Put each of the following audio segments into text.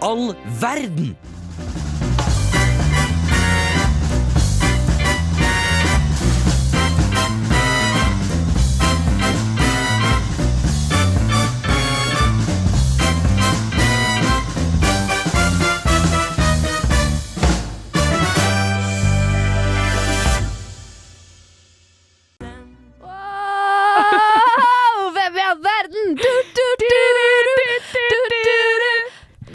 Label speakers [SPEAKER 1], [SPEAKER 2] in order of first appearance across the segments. [SPEAKER 1] all verden?
[SPEAKER 2] Wow, hvem i all verden? Du, du, du, du, du, du,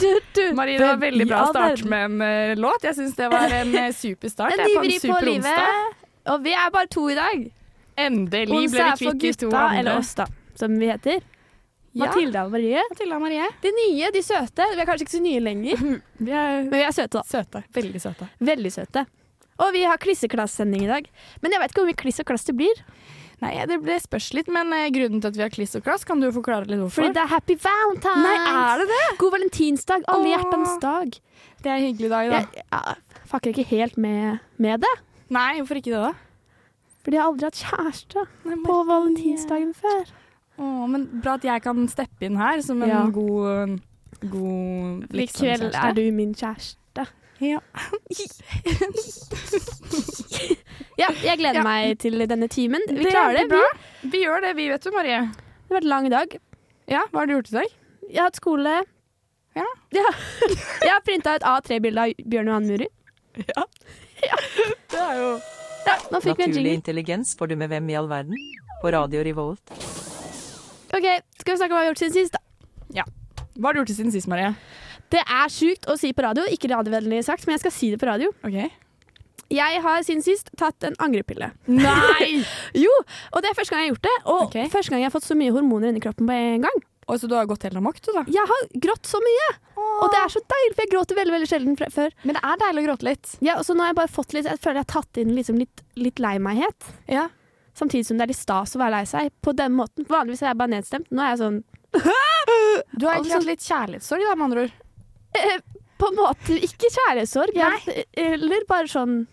[SPEAKER 2] du, du.
[SPEAKER 3] Marie, det var
[SPEAKER 2] Hvem
[SPEAKER 3] veldig
[SPEAKER 2] i
[SPEAKER 3] bra
[SPEAKER 2] all
[SPEAKER 3] å starte
[SPEAKER 2] verden?
[SPEAKER 3] med en eh, låt. Jeg syns det var en eh, super start.
[SPEAKER 2] En
[SPEAKER 3] jeg, på
[SPEAKER 2] ivrig på
[SPEAKER 3] en super onsdag.
[SPEAKER 2] livet. Og vi er bare to i dag.
[SPEAKER 3] Endelig
[SPEAKER 2] Onsdag
[SPEAKER 3] ble
[SPEAKER 2] er
[SPEAKER 3] vi
[SPEAKER 2] for
[SPEAKER 3] kvitt de to
[SPEAKER 2] gutta,
[SPEAKER 3] andre.
[SPEAKER 2] eller oss, da, som vi heter.
[SPEAKER 3] Ja.
[SPEAKER 2] Mathilde og Marie.
[SPEAKER 3] Mathilde og Marie.
[SPEAKER 2] De nye, de søte. Vi er kanskje ikke så nye lenger,
[SPEAKER 3] Vi er
[SPEAKER 2] men vi er søte, da.
[SPEAKER 3] søte. Veldig søte.
[SPEAKER 2] Veldig søte. Og vi har klisseklass-sending i dag. Men jeg vet ikke hvor mye kliss og klass det blir.
[SPEAKER 3] Nei, det ble spørs litt, men eh, grunnen til at vi har kliss og klass, kan du forklare litt hvorfor?
[SPEAKER 2] Fordi det er happy valentines!
[SPEAKER 3] Nei, er det det?
[SPEAKER 2] God valentinsdag. Alle
[SPEAKER 3] Åh.
[SPEAKER 2] hjertens dag.
[SPEAKER 3] Det er en hyggelig dag, da.
[SPEAKER 2] Jeg, jeg fucker ikke helt med, med det.
[SPEAKER 3] Nei, hvorfor ikke det, da?
[SPEAKER 2] Fordi jeg har aldri hatt kjæreste
[SPEAKER 3] Nei,
[SPEAKER 2] på valentinsdagen før.
[SPEAKER 3] Å, men bra at jeg kan steppe inn her som en
[SPEAKER 2] Ja.
[SPEAKER 3] god, god
[SPEAKER 2] I kveld er du min kjæreste.
[SPEAKER 3] Ja.
[SPEAKER 2] Ja, jeg gleder
[SPEAKER 3] Ja.
[SPEAKER 2] meg til denne timen. Vi klarer det. Vi,
[SPEAKER 3] Vi, vi gjør det, vi vet du, Marie.
[SPEAKER 2] det har vært en lang dag.
[SPEAKER 3] Ja, hva har du gjort i dag?
[SPEAKER 2] Jeg har hatt skole.
[SPEAKER 3] Ja.
[SPEAKER 2] Jeg har printa et A3-bilde av Bjørn Johan Muri.
[SPEAKER 3] Det er jo
[SPEAKER 2] Ja, nå fikk vi en
[SPEAKER 4] Naturlig
[SPEAKER 2] jingle.
[SPEAKER 4] intelligens får du med Hvem i all verden? på Radio Revolt.
[SPEAKER 2] Ok, Skal vi snakke om hva vi har gjort siden sist? da?
[SPEAKER 3] Hva har du gjort siden sist, Marie?
[SPEAKER 2] Det er sjukt å si på radio. Ikke radiovennlig sagt, men jeg skal si det på radio.
[SPEAKER 3] Ok.
[SPEAKER 2] Jeg har siden sist tatt en angrepille.
[SPEAKER 3] Nei!
[SPEAKER 2] Jo, og det er første gang jeg har gjort det. Og
[SPEAKER 3] Ok.
[SPEAKER 2] første gang jeg har fått så mye hormoner inni kroppen på en gang.
[SPEAKER 3] Og så du har gått helt amok, du, da.
[SPEAKER 2] Jeg har grått så mye, og det er så deilig, for jeg gråter veldig veldig sjelden fra før.
[SPEAKER 3] Men det er deilig å gråte litt.
[SPEAKER 2] Ja, og så nå har jeg bare fått litt, jeg føler jeg har tatt inn liksom litt, litt lei meghet,
[SPEAKER 3] Ja.
[SPEAKER 2] samtidig som det er litt stas å være lei seg på den måten. Vanligvis er jeg bare nedstemt, nå er jeg sånn
[SPEAKER 3] Du har egentlig
[SPEAKER 2] Altså-
[SPEAKER 3] hatt litt kjærlighetssorg, da, med andre ord.
[SPEAKER 2] eh, på en måte ikke kjærlighetssorg, jeg- eller bare sånn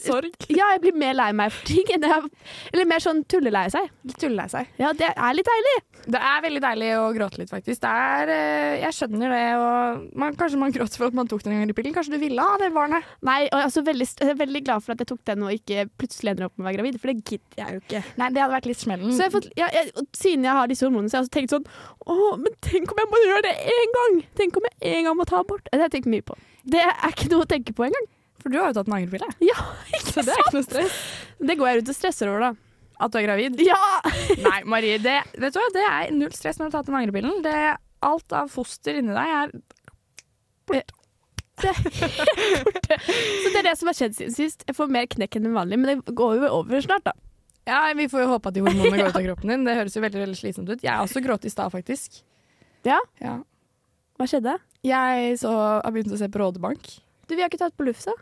[SPEAKER 3] Sorg.
[SPEAKER 2] Ja, jeg blir mer lei meg for ting, enn jeg, eller mer sånn tullelei seg.
[SPEAKER 3] Litt tullelei seg.
[SPEAKER 2] Ja, det er litt deilig.
[SPEAKER 3] Det er veldig deilig å gråte litt, faktisk. Det er, eh, jeg skjønner det, og man, kanskje man gråter for at man tok den en gang i pillen. Kanskje du ville ha det barnet?
[SPEAKER 2] Nei, og jeg er også veldig, jeg er veldig glad for at jeg tok den og ikke plutselig ender opp med å være gravid, for det gidder jeg jo ikke.
[SPEAKER 3] Nei, det hadde vært litt smellen.
[SPEAKER 2] Så jeg har fått, ja, jeg, og siden jeg har disse hormonene, så har jeg også tenkt sånn Å, men tenk om jeg må gjøre det én gang! Tenk om jeg en gang må ta abort! Det har jeg tenkt mye på. Det er ikke noe å tenke på engang.
[SPEAKER 3] For du har jo tatt en angrepille.
[SPEAKER 2] Ja,
[SPEAKER 3] Så det er ikke noe stress.
[SPEAKER 2] det går jeg rundt og stresser over, da.
[SPEAKER 3] At du er gravid?
[SPEAKER 2] Ja!
[SPEAKER 3] Nei, Marie, det, vet du hva? det er null stress når du har tatt den angrepillen. Det, alt av foster inni deg er
[SPEAKER 2] Så det er det som har skjedd siden sist. Jeg får mer knekk enn vanlig, men det går jo over snart, da.
[SPEAKER 3] Ja, vi får jo håpe at de hormonene går ut av kroppen din. Det høres jo veldig, veldig slitsomt ut. Jeg har også grått i stad, faktisk.
[SPEAKER 2] Ja?
[SPEAKER 3] ja.
[SPEAKER 2] Hva skjedde?
[SPEAKER 3] Jeg så, har begynt å se på Rådebank.
[SPEAKER 2] Du, vi har ikke tatt på lufta.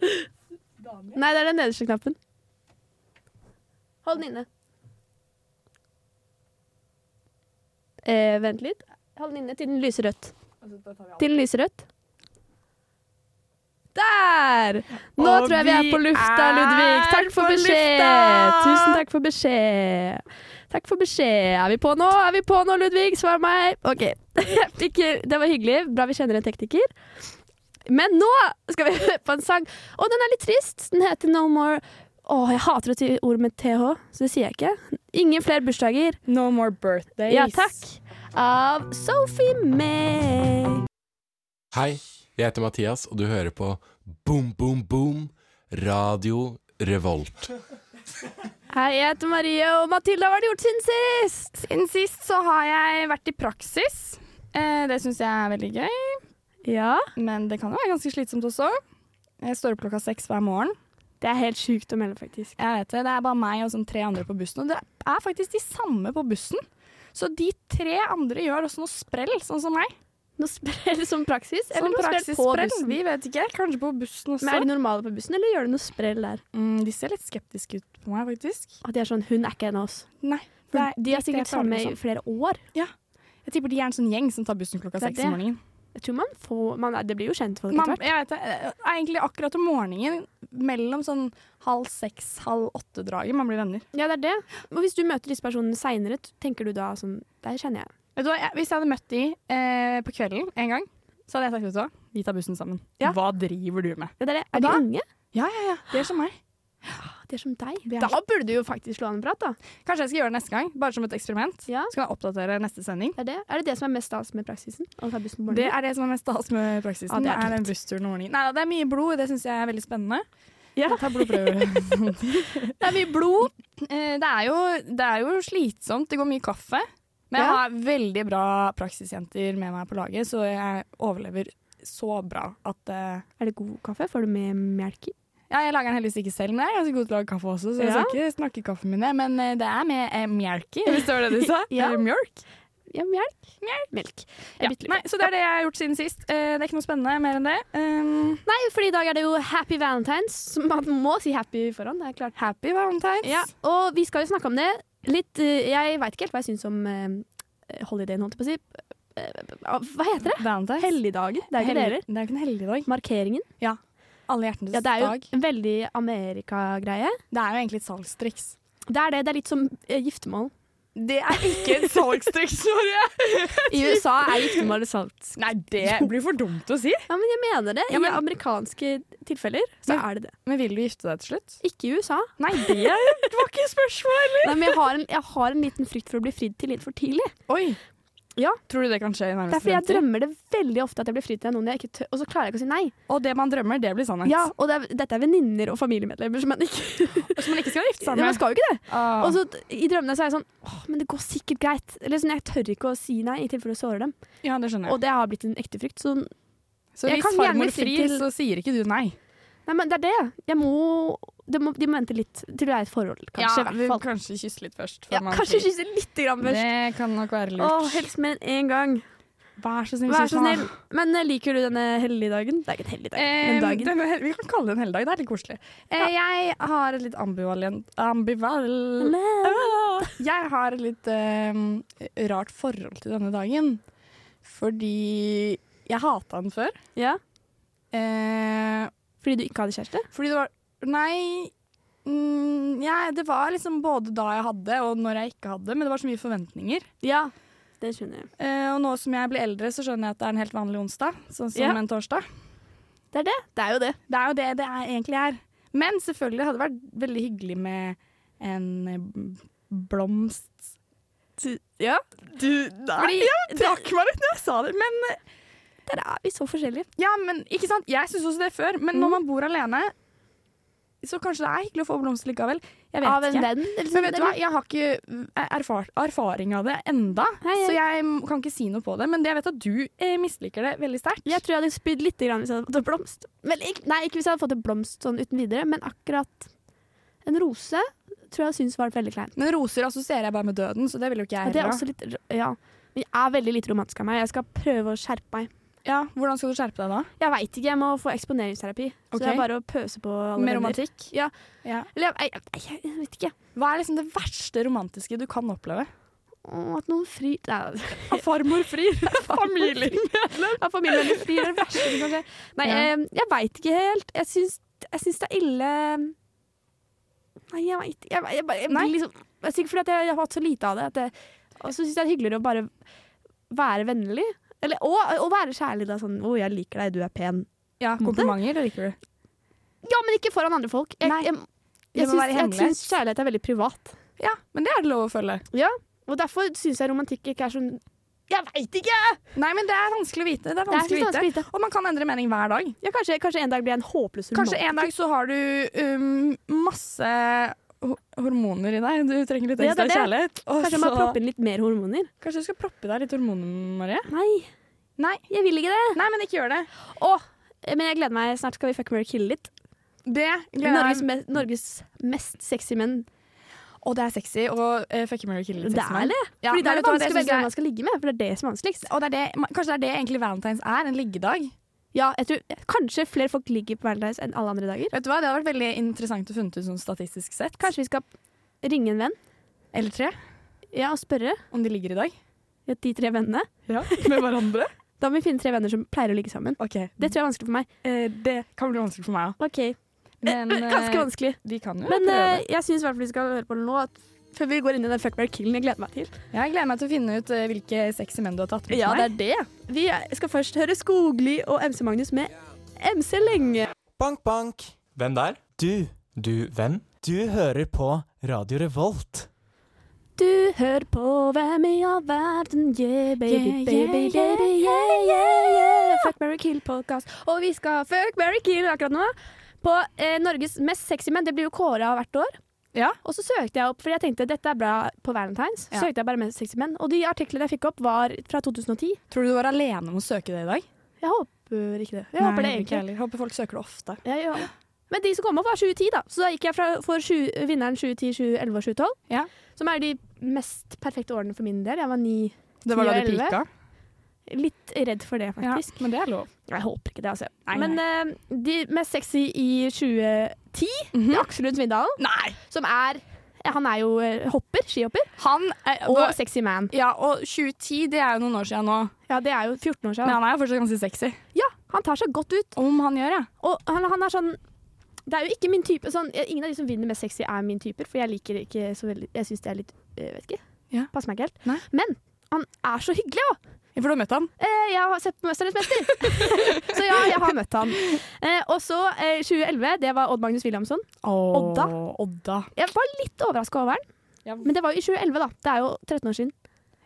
[SPEAKER 2] Nei, det er den nederste knappen. Hold den inne. Eh, vent litt. Hold den inne til den lyser rødt. Til den lyser rødt. Der! Nå
[SPEAKER 3] Og
[SPEAKER 2] tror jeg vi er
[SPEAKER 3] vi
[SPEAKER 2] på lufta,
[SPEAKER 3] er
[SPEAKER 2] Ludvig. Takk for
[SPEAKER 3] på
[SPEAKER 2] beskjed.
[SPEAKER 3] lufta!
[SPEAKER 2] Tusen takk for beskjed. Takk for beskjed. Er vi på nå? Er vi på nå, Ludvig? Svar meg. OK. Ikke, det var hyggelig. Bra vi kjenner en tekniker. Men nå skal vi høre på en sang. Og den er litt trist. Den heter No More Å, jeg hater å si ord med TH, så det sier jeg ikke. Ingen flere bursdager.
[SPEAKER 3] No more birthdays.
[SPEAKER 2] Ja, takk. Av Sophie May.
[SPEAKER 5] Hei, jeg heter Mathias, og du hører på Boom Boom Boom Radio Revolt.
[SPEAKER 2] Hei, jeg heter Marie, og Mathilde, hva har du gjort siden sist?
[SPEAKER 3] Siden sist så har jeg vært i praksis. Eh, det syns jeg er veldig gøy,
[SPEAKER 2] Ja,
[SPEAKER 3] men det kan jo være ganske slitsomt også. Jeg står opp klokka seks hver morgen.
[SPEAKER 2] det er helt sjukt å melde, faktisk.
[SPEAKER 3] Jeg vet Det det er bare meg og sånn tre andre på bussen, og det er faktisk de samme på bussen. Så de tre andre gjør også noe sprell, sånn som meg.
[SPEAKER 2] Nå sprer det som praksis, eller
[SPEAKER 3] Sånn
[SPEAKER 2] noe sprell på
[SPEAKER 3] praksissprell.
[SPEAKER 2] bussen.
[SPEAKER 3] Vi vet ikke. Kanskje på bussen også.
[SPEAKER 2] Men er de normale på bussen, eller gjør de noe sprell der?
[SPEAKER 3] Mm, de ser litt skeptiske ut på meg, faktisk.
[SPEAKER 2] At de er sånn, hun er ikke en av oss.
[SPEAKER 3] Nei.
[SPEAKER 2] For
[SPEAKER 3] det er
[SPEAKER 2] de er
[SPEAKER 3] litt det sånn. jeg
[SPEAKER 2] sikkert
[SPEAKER 3] føler
[SPEAKER 2] sammen
[SPEAKER 3] det
[SPEAKER 2] i flere år.
[SPEAKER 3] som. Jeg tipper de er en sånn gjeng som tar bussen klokka
[SPEAKER 2] Det er
[SPEAKER 3] seks
[SPEAKER 2] det.
[SPEAKER 3] om morgenen.
[SPEAKER 2] Jeg tror man får, man, det blir jo kjent folk
[SPEAKER 3] Man,
[SPEAKER 2] etter hvert.
[SPEAKER 3] jeg vet det, eh, er egentlig akkurat om morgenen, mellom sånn halv seks, halv åtte-draget, man blir venner.
[SPEAKER 2] Ja, det er det. Og hvis du møter disse personene seinere, tenker du da sånn Der kjenner jeg.
[SPEAKER 3] Vet du hva, jeg, Hvis jeg hadde møtt de eh, på kvelden en gang, så hadde jeg sagt vet du hva, vi tar bussen sammen.
[SPEAKER 2] Ja.
[SPEAKER 3] Hva driver du med?
[SPEAKER 2] Ja, det er, det.
[SPEAKER 3] Og
[SPEAKER 2] er de
[SPEAKER 3] da-
[SPEAKER 2] unge?
[SPEAKER 3] Ja, ja, ja. Det er som meg.
[SPEAKER 2] De er som deg.
[SPEAKER 3] De er
[SPEAKER 2] Da burde du jo faktisk slå an en prat, da.
[SPEAKER 3] Kanskje jeg skal gjøre det neste gang, bare som et eksperiment.
[SPEAKER 2] Ja.
[SPEAKER 3] Så kan jeg oppdatere neste sending.
[SPEAKER 2] Er, det? er det det som er mest stas med praksisen? Å ta bussen på
[SPEAKER 3] Det
[SPEAKER 2] morgenen?
[SPEAKER 3] er det som er mest stas med praksisen.
[SPEAKER 2] Ja, det er
[SPEAKER 3] er den bussturen og ordningen. Nei, da, det er mye blod, det syns jeg er veldig spennende.
[SPEAKER 2] Ja.
[SPEAKER 3] Jeg tar blodprøver. det er mye blod. Eh, Det er, jo, det er jo slitsomt, det går mye kaffe. Men jeg
[SPEAKER 2] Ja.
[SPEAKER 3] har veldig bra praksisjenter med meg på laget, så jeg overlever så bra at eh,
[SPEAKER 2] Er det god kaffe? Får du med melk i?
[SPEAKER 3] Ja, jeg lager den heldigvis ikke selv, men jeg er ganske god til å lage kaffe også, så jeg
[SPEAKER 2] Ja.
[SPEAKER 3] skal ikke snakke kaffen min, ned, men eh, det er med eh, mjelki, hvis det var det du sa.
[SPEAKER 2] Ja.
[SPEAKER 3] Eller mjølk.
[SPEAKER 2] Ja, melk. Melk. Jeg
[SPEAKER 3] Ja.
[SPEAKER 2] bytter litt.
[SPEAKER 3] Nei, så det er det jeg har gjort siden sist. Eh, det er ikke noe spennende mer enn det. Um,
[SPEAKER 2] Nei, for i dag er det jo Happy Valentines. så Man må si happy foran, det er klart.
[SPEAKER 3] happy valentines.
[SPEAKER 2] Ja, og vi skal jo snakke om det litt eh, Jeg veit ikke helt hva jeg syns om eh, holidayen, holdt jeg på å si. Eh, Hva heter det?
[SPEAKER 3] Valentines.
[SPEAKER 2] Helligdager. Det er jo ikke det
[SPEAKER 3] Hellig-
[SPEAKER 2] heller.
[SPEAKER 3] det er jo ikke en helligdag.
[SPEAKER 2] Markeringen.
[SPEAKER 3] Alle hjertenes
[SPEAKER 2] Ja, det er jo
[SPEAKER 3] dag.
[SPEAKER 2] en veldig Amerika-greie.
[SPEAKER 3] Det er jo egentlig et salgstriks.
[SPEAKER 2] Det er det. Det er litt som eh, giftermål.
[SPEAKER 3] Det er ikke et salgstriks, Marie.
[SPEAKER 2] I USA er giftermål et salgs...
[SPEAKER 3] Nei, det blir for dumt å si.
[SPEAKER 2] Ja, men jeg mener det.
[SPEAKER 3] Ja, men-
[SPEAKER 2] I amerikanske tilfeller så er det det.
[SPEAKER 3] Men vil du gifte deg til slutt?
[SPEAKER 2] Ikke i USA.
[SPEAKER 3] Nei, det var ikke spørsmål.
[SPEAKER 2] Nei, men jeg har, en, jeg har en liten frykt for å bli fridd til litt for tidlig.
[SPEAKER 3] Oi.
[SPEAKER 2] Ja.
[SPEAKER 3] Tror du det kan skje i
[SPEAKER 2] Det
[SPEAKER 3] nærmeste
[SPEAKER 2] er fordi jeg drømmer det veldig ofte at jeg blir fridd til noen jeg ikke tør, og så klarer jeg ikke å si nei.
[SPEAKER 3] Og det man drømmer, det blir sannhet.
[SPEAKER 2] Ja, og det er, dette er venninner og familiemedlemmer som man ikke
[SPEAKER 3] Som man ikke skal gifte
[SPEAKER 2] Ja,
[SPEAKER 3] seg
[SPEAKER 2] Man
[SPEAKER 3] med.
[SPEAKER 2] skal jo ikke det.
[SPEAKER 3] Ah.
[SPEAKER 2] Og så t- i drømmene så er jeg sånn Åh, men det går sikkert greit. Eller sånn, jeg tør ikke å si nei i tilfelle jeg sårer dem.
[SPEAKER 3] ja, det skjønner jeg.
[SPEAKER 2] Og det har blitt en ekte frykt. Så nei,
[SPEAKER 3] så
[SPEAKER 2] jeg
[SPEAKER 3] hvis
[SPEAKER 2] kan gjerne
[SPEAKER 3] farmor
[SPEAKER 2] si
[SPEAKER 3] frir,
[SPEAKER 2] til-
[SPEAKER 3] så sier ikke du nei.
[SPEAKER 2] men det er det. Jeg må, det må De må vente litt til det er et forhold, kanskje. i
[SPEAKER 3] vi
[SPEAKER 2] hvert fall.
[SPEAKER 3] kanskje kysse litt først. før
[SPEAKER 2] Ja,
[SPEAKER 3] man
[SPEAKER 2] kanskje
[SPEAKER 3] frir.
[SPEAKER 2] kysse lite grann først.
[SPEAKER 3] Det kan nok være
[SPEAKER 2] Å,
[SPEAKER 3] lurt.
[SPEAKER 2] helst mer enn én gang.
[SPEAKER 3] Vær så snill.
[SPEAKER 2] Vær så
[SPEAKER 3] kyss meg.
[SPEAKER 2] snill. Men eh, liker du denne helligdagen? Det er ikke en helligdag, men
[SPEAKER 3] Eh,
[SPEAKER 2] dagen.
[SPEAKER 3] denne hel- vi kan kalle det en helligdag. Det er litt koselig. Eh, Jeg har et litt ambivalent ambival... Ah, Jeg har et litt eh, rart forhold til denne dagen. Fordi jeg hata den før.
[SPEAKER 2] Ja.
[SPEAKER 3] Eh,
[SPEAKER 2] Fordi du ikke hadde kjæreste?
[SPEAKER 3] Fordi det var Nei. Mm, jeg- det var liksom både da jeg hadde og når jeg ikke hadde, men det var så mye forventninger.
[SPEAKER 2] Ja. Det skjønner jeg.
[SPEAKER 3] Eh, og nå som jeg blir eldre, så skjønner jeg at det er en helt vanlig onsdag, sånn som
[SPEAKER 2] Ja.
[SPEAKER 3] en torsdag.
[SPEAKER 2] Det er det. Det er jo det.
[SPEAKER 3] Det er jo det det er egentlig er. Men selvfølgelig hadde det vært veldig hyggelig med en eh, blomst
[SPEAKER 2] ja. Du Nei, Fordi,
[SPEAKER 3] Trakk meg litt når jeg sa det, men
[SPEAKER 2] der er vi så forskjellige.
[SPEAKER 3] Ja, men ikke sant? Jeg syns også det før, men
[SPEAKER 2] Mm.
[SPEAKER 3] når man bor alene, så kanskje det er hyggelig å få blomster likevel. Jeg vet
[SPEAKER 2] Av en
[SPEAKER 3] ikke.
[SPEAKER 2] venn. eller
[SPEAKER 3] Men
[SPEAKER 2] sånn,
[SPEAKER 3] vet du hva, jeg har ikke eh, erfar erfaring av det enda,
[SPEAKER 2] Nei, jeg-
[SPEAKER 3] så jeg m- kan ikke si noe på det. Men det jeg vet at du eh, misliker det veldig sterkt.
[SPEAKER 2] Jeg tror jeg hadde spydd litt grann hvis jeg hadde fått en blomst. Men ikke, nei, ikke hvis jeg hadde fått en blomst sånn uten videre, men akkurat en rose tror jeg syntes var veldig kleint.
[SPEAKER 3] Men roser assosierer jeg bare med døden, så det vil jo ikke
[SPEAKER 2] Ja,
[SPEAKER 3] jeg
[SPEAKER 2] det er
[SPEAKER 3] heller.
[SPEAKER 2] også litt r- Ja. Men jeg er veldig lite romantisk av meg. Jeg skal prøve å skjerpe meg.
[SPEAKER 3] ha. Ja, hvordan skal du skjerpe deg da?
[SPEAKER 2] Jeg veit ikke, jeg må få eksponeringsterapi. Så
[SPEAKER 3] Ok.
[SPEAKER 2] det er bare å pøse på alle
[SPEAKER 3] Med
[SPEAKER 2] venner.
[SPEAKER 3] romantikk?
[SPEAKER 2] Ja.
[SPEAKER 3] Ja.
[SPEAKER 2] Eller jeg, jeg, jeg, jeg vet ikke.
[SPEAKER 3] Hva er liksom det verste romantiske du kan oppleve?
[SPEAKER 2] Å, at noen frir Nei,
[SPEAKER 3] At farmor frir. Familiemedlem.
[SPEAKER 2] at familien min frir er det verste som kan skje. Nei,
[SPEAKER 3] Ja.
[SPEAKER 2] eh, jeg veit ikke helt. Jeg syns, jeg syns det er ille Nei, jeg veit ikke. Jeg, jeg, bare- jeg,
[SPEAKER 3] Nei.
[SPEAKER 2] blir liksom, det er sikkert fordi at jeg, jeg har hatt så lite av det. At jeg, og så syns jeg det er hyggeligere å bare være vennlig. Eller, og, og være kjærlig. Da, sånn 'Å, jeg liker deg, du er pen'.
[SPEAKER 3] Ja, komplimenter, det liker du.
[SPEAKER 2] Ja, men ikke foran andre folk. Jeg,
[SPEAKER 3] Nei.
[SPEAKER 2] jeg,
[SPEAKER 3] Det
[SPEAKER 2] jeg,
[SPEAKER 3] må
[SPEAKER 2] syns-
[SPEAKER 3] være
[SPEAKER 2] jeg
[SPEAKER 3] hemmelig.
[SPEAKER 2] syns kjærlighet er veldig privat.
[SPEAKER 3] Ja, men det er det lov å følge.
[SPEAKER 2] Og derfor syns jeg romantikk ikke er sånn Jeg veit ikke!
[SPEAKER 3] Nei, men det er vanskelig å vite. Det er
[SPEAKER 2] Det er så
[SPEAKER 3] vanskelig å vite.
[SPEAKER 2] vanskelig å vite.
[SPEAKER 3] Og man kan endre mening hver dag.
[SPEAKER 2] Ja, kanskje, kanskje en dag blir jeg en håpløs
[SPEAKER 3] Kanskje
[SPEAKER 2] romantiker.
[SPEAKER 3] en dag så har du um, masse ho- hormoner i deg. Du trenger litt
[SPEAKER 2] Ja,
[SPEAKER 3] ekstra
[SPEAKER 2] det er
[SPEAKER 3] kjærlighet. Og
[SPEAKER 2] Kanskje jeg må
[SPEAKER 3] så-
[SPEAKER 2] proppe inn litt mer hormoner?
[SPEAKER 3] Kanskje du skal proppe i deg litt hormoner, Marie?
[SPEAKER 2] Nei,
[SPEAKER 3] Nei.
[SPEAKER 2] jeg vil ikke det.
[SPEAKER 3] Nei, men ikke gjør det.
[SPEAKER 2] Å, men jeg gleder meg. Snart skal vi fuck, marry, kill litt.
[SPEAKER 3] Det
[SPEAKER 2] Norges, me Norges mest sexy menn.
[SPEAKER 3] Og det er sexy å uh, fucke Mary Kill litt
[SPEAKER 2] Det
[SPEAKER 3] sexy
[SPEAKER 2] er
[SPEAKER 3] med.
[SPEAKER 2] det.
[SPEAKER 3] Ja,
[SPEAKER 2] Fordi
[SPEAKER 3] men
[SPEAKER 2] da er det vanskelig å
[SPEAKER 3] vet du hva, synes
[SPEAKER 2] velge hvem
[SPEAKER 3] jeg-
[SPEAKER 2] man skal ligge med, for det er det som er vanskeligst.
[SPEAKER 3] Og det er det, ma- kanskje det er det egentlig valentines er, en liggedag.
[SPEAKER 2] Ja, jeg tror Kanskje flere folk ligger på Valentine's enn alle andre dager.
[SPEAKER 3] Vet du hva, Det hadde vært veldig interessant å funnet ut sånn statistisk sett.
[SPEAKER 2] Kanskje vi skal ringe en venn
[SPEAKER 3] Eller tre,
[SPEAKER 2] ja, og spørre
[SPEAKER 3] om de ligger i dag.
[SPEAKER 2] ja, de tre vennene.
[SPEAKER 3] Ja, Med hverandre.
[SPEAKER 2] Da må vi finne tre venner som pleier å ligge sammen.
[SPEAKER 3] ok,
[SPEAKER 2] Det tror jeg er vanskelig for meg.
[SPEAKER 3] eh, Det kan bli vanskelig for meg òg.
[SPEAKER 2] Ok,
[SPEAKER 3] Men eh,
[SPEAKER 2] Ganske vanskelig.
[SPEAKER 3] de kan jo
[SPEAKER 2] Men
[SPEAKER 3] prøve.
[SPEAKER 2] eh, jeg syns i hvert fall vi skal høre på den nå. at før vi går inn i den fuck, marry, killen jeg gleder meg til.
[SPEAKER 3] eh, Jeg gleder meg til å finne ut eh, hvilke sexy menn du har tatt med.
[SPEAKER 2] Ja, det
[SPEAKER 3] til
[SPEAKER 2] er det. Vi skal først høre Skogli og MC Magnus med MC Lenge.
[SPEAKER 1] Bank, bank.
[SPEAKER 6] Hvem der?
[SPEAKER 1] Du,
[SPEAKER 6] Du, hvem?
[SPEAKER 1] du hører på Radio Revolt.
[SPEAKER 2] Du hører på Hvem i all verden, yeah, baby,
[SPEAKER 3] Yeah,
[SPEAKER 2] baby,
[SPEAKER 3] yeah, yeah,
[SPEAKER 2] baby, yeah, yeah, yeah. Fuck, marry, kill-podkast. Og vi skal ha fuck, marry, kill akkurat nå. På eh, Norges mest sexy menn. Det blir jo kåra hvert år.
[SPEAKER 3] Ja.
[SPEAKER 2] Og så søkte jeg opp, fordi jeg tenkte dette er bra på Valentine's.
[SPEAKER 3] Ja.
[SPEAKER 2] Søkte jeg bare mest sexy menn. Og de artiklene jeg fikk opp, var fra 2010.
[SPEAKER 3] Tror du du var alene om å søke det i dag?
[SPEAKER 2] Jeg håper ikke det. Jeg håper det egentlig.
[SPEAKER 3] heller. Håper folk søker det ofte.
[SPEAKER 2] Jeg gjør det. Men de som kom opp, var 2010, da. Så da gikk jeg fra, for 20, vinneren 2010, 2011 og 2012.
[SPEAKER 3] Ja.
[SPEAKER 2] Som er de mest perfekte årene for min del. Jeg var ni.
[SPEAKER 3] Det var da
[SPEAKER 2] Ti og
[SPEAKER 3] du
[SPEAKER 2] elleve.
[SPEAKER 3] pika?
[SPEAKER 2] Litt redd for det,
[SPEAKER 3] Ja,
[SPEAKER 2] faktisk.
[SPEAKER 3] men det er lov.
[SPEAKER 2] Jeg håper ikke det, altså.
[SPEAKER 3] Nei,
[SPEAKER 2] Men eh, de mest sexy i 2010,
[SPEAKER 3] Mhm.
[SPEAKER 2] Aksel Lund Svindalen,
[SPEAKER 3] Nei!
[SPEAKER 2] som er Han er jo eh, hopper, skihopper,
[SPEAKER 3] Han er,
[SPEAKER 2] og
[SPEAKER 3] og,
[SPEAKER 2] sexy man.
[SPEAKER 3] Ja, og 2010, det er jo noen år siden nå.
[SPEAKER 2] Ja, det er jo 14 år
[SPEAKER 3] Men
[SPEAKER 2] siden.
[SPEAKER 3] han er jo fortsatt ganske sexy.
[SPEAKER 2] Ja, han tar seg godt ut.
[SPEAKER 3] Om han gjør, ja.
[SPEAKER 2] Og han, han er sånn Det er jo ikke min type sånn, Ingen av de som vinner mest sexy er min typer For jeg liker ikke så veldig Jeg synes det er litt, jeg vet ikke
[SPEAKER 3] Ja.
[SPEAKER 2] Passer meg ikke helt
[SPEAKER 3] Nei.
[SPEAKER 2] Men han er så hyggelig også
[SPEAKER 3] For du har møtt han?
[SPEAKER 2] eh, Jeg har sett på Mesternes Mester Så ja, jeg har møtt han eh, Og så eh, 2011, det var Odd Magnus Williamson Odda.
[SPEAKER 3] Odda.
[SPEAKER 2] Jeg var litt overrasket over den
[SPEAKER 3] Ja.
[SPEAKER 2] Men det var jo i 2011 da Det er jo 13 år siden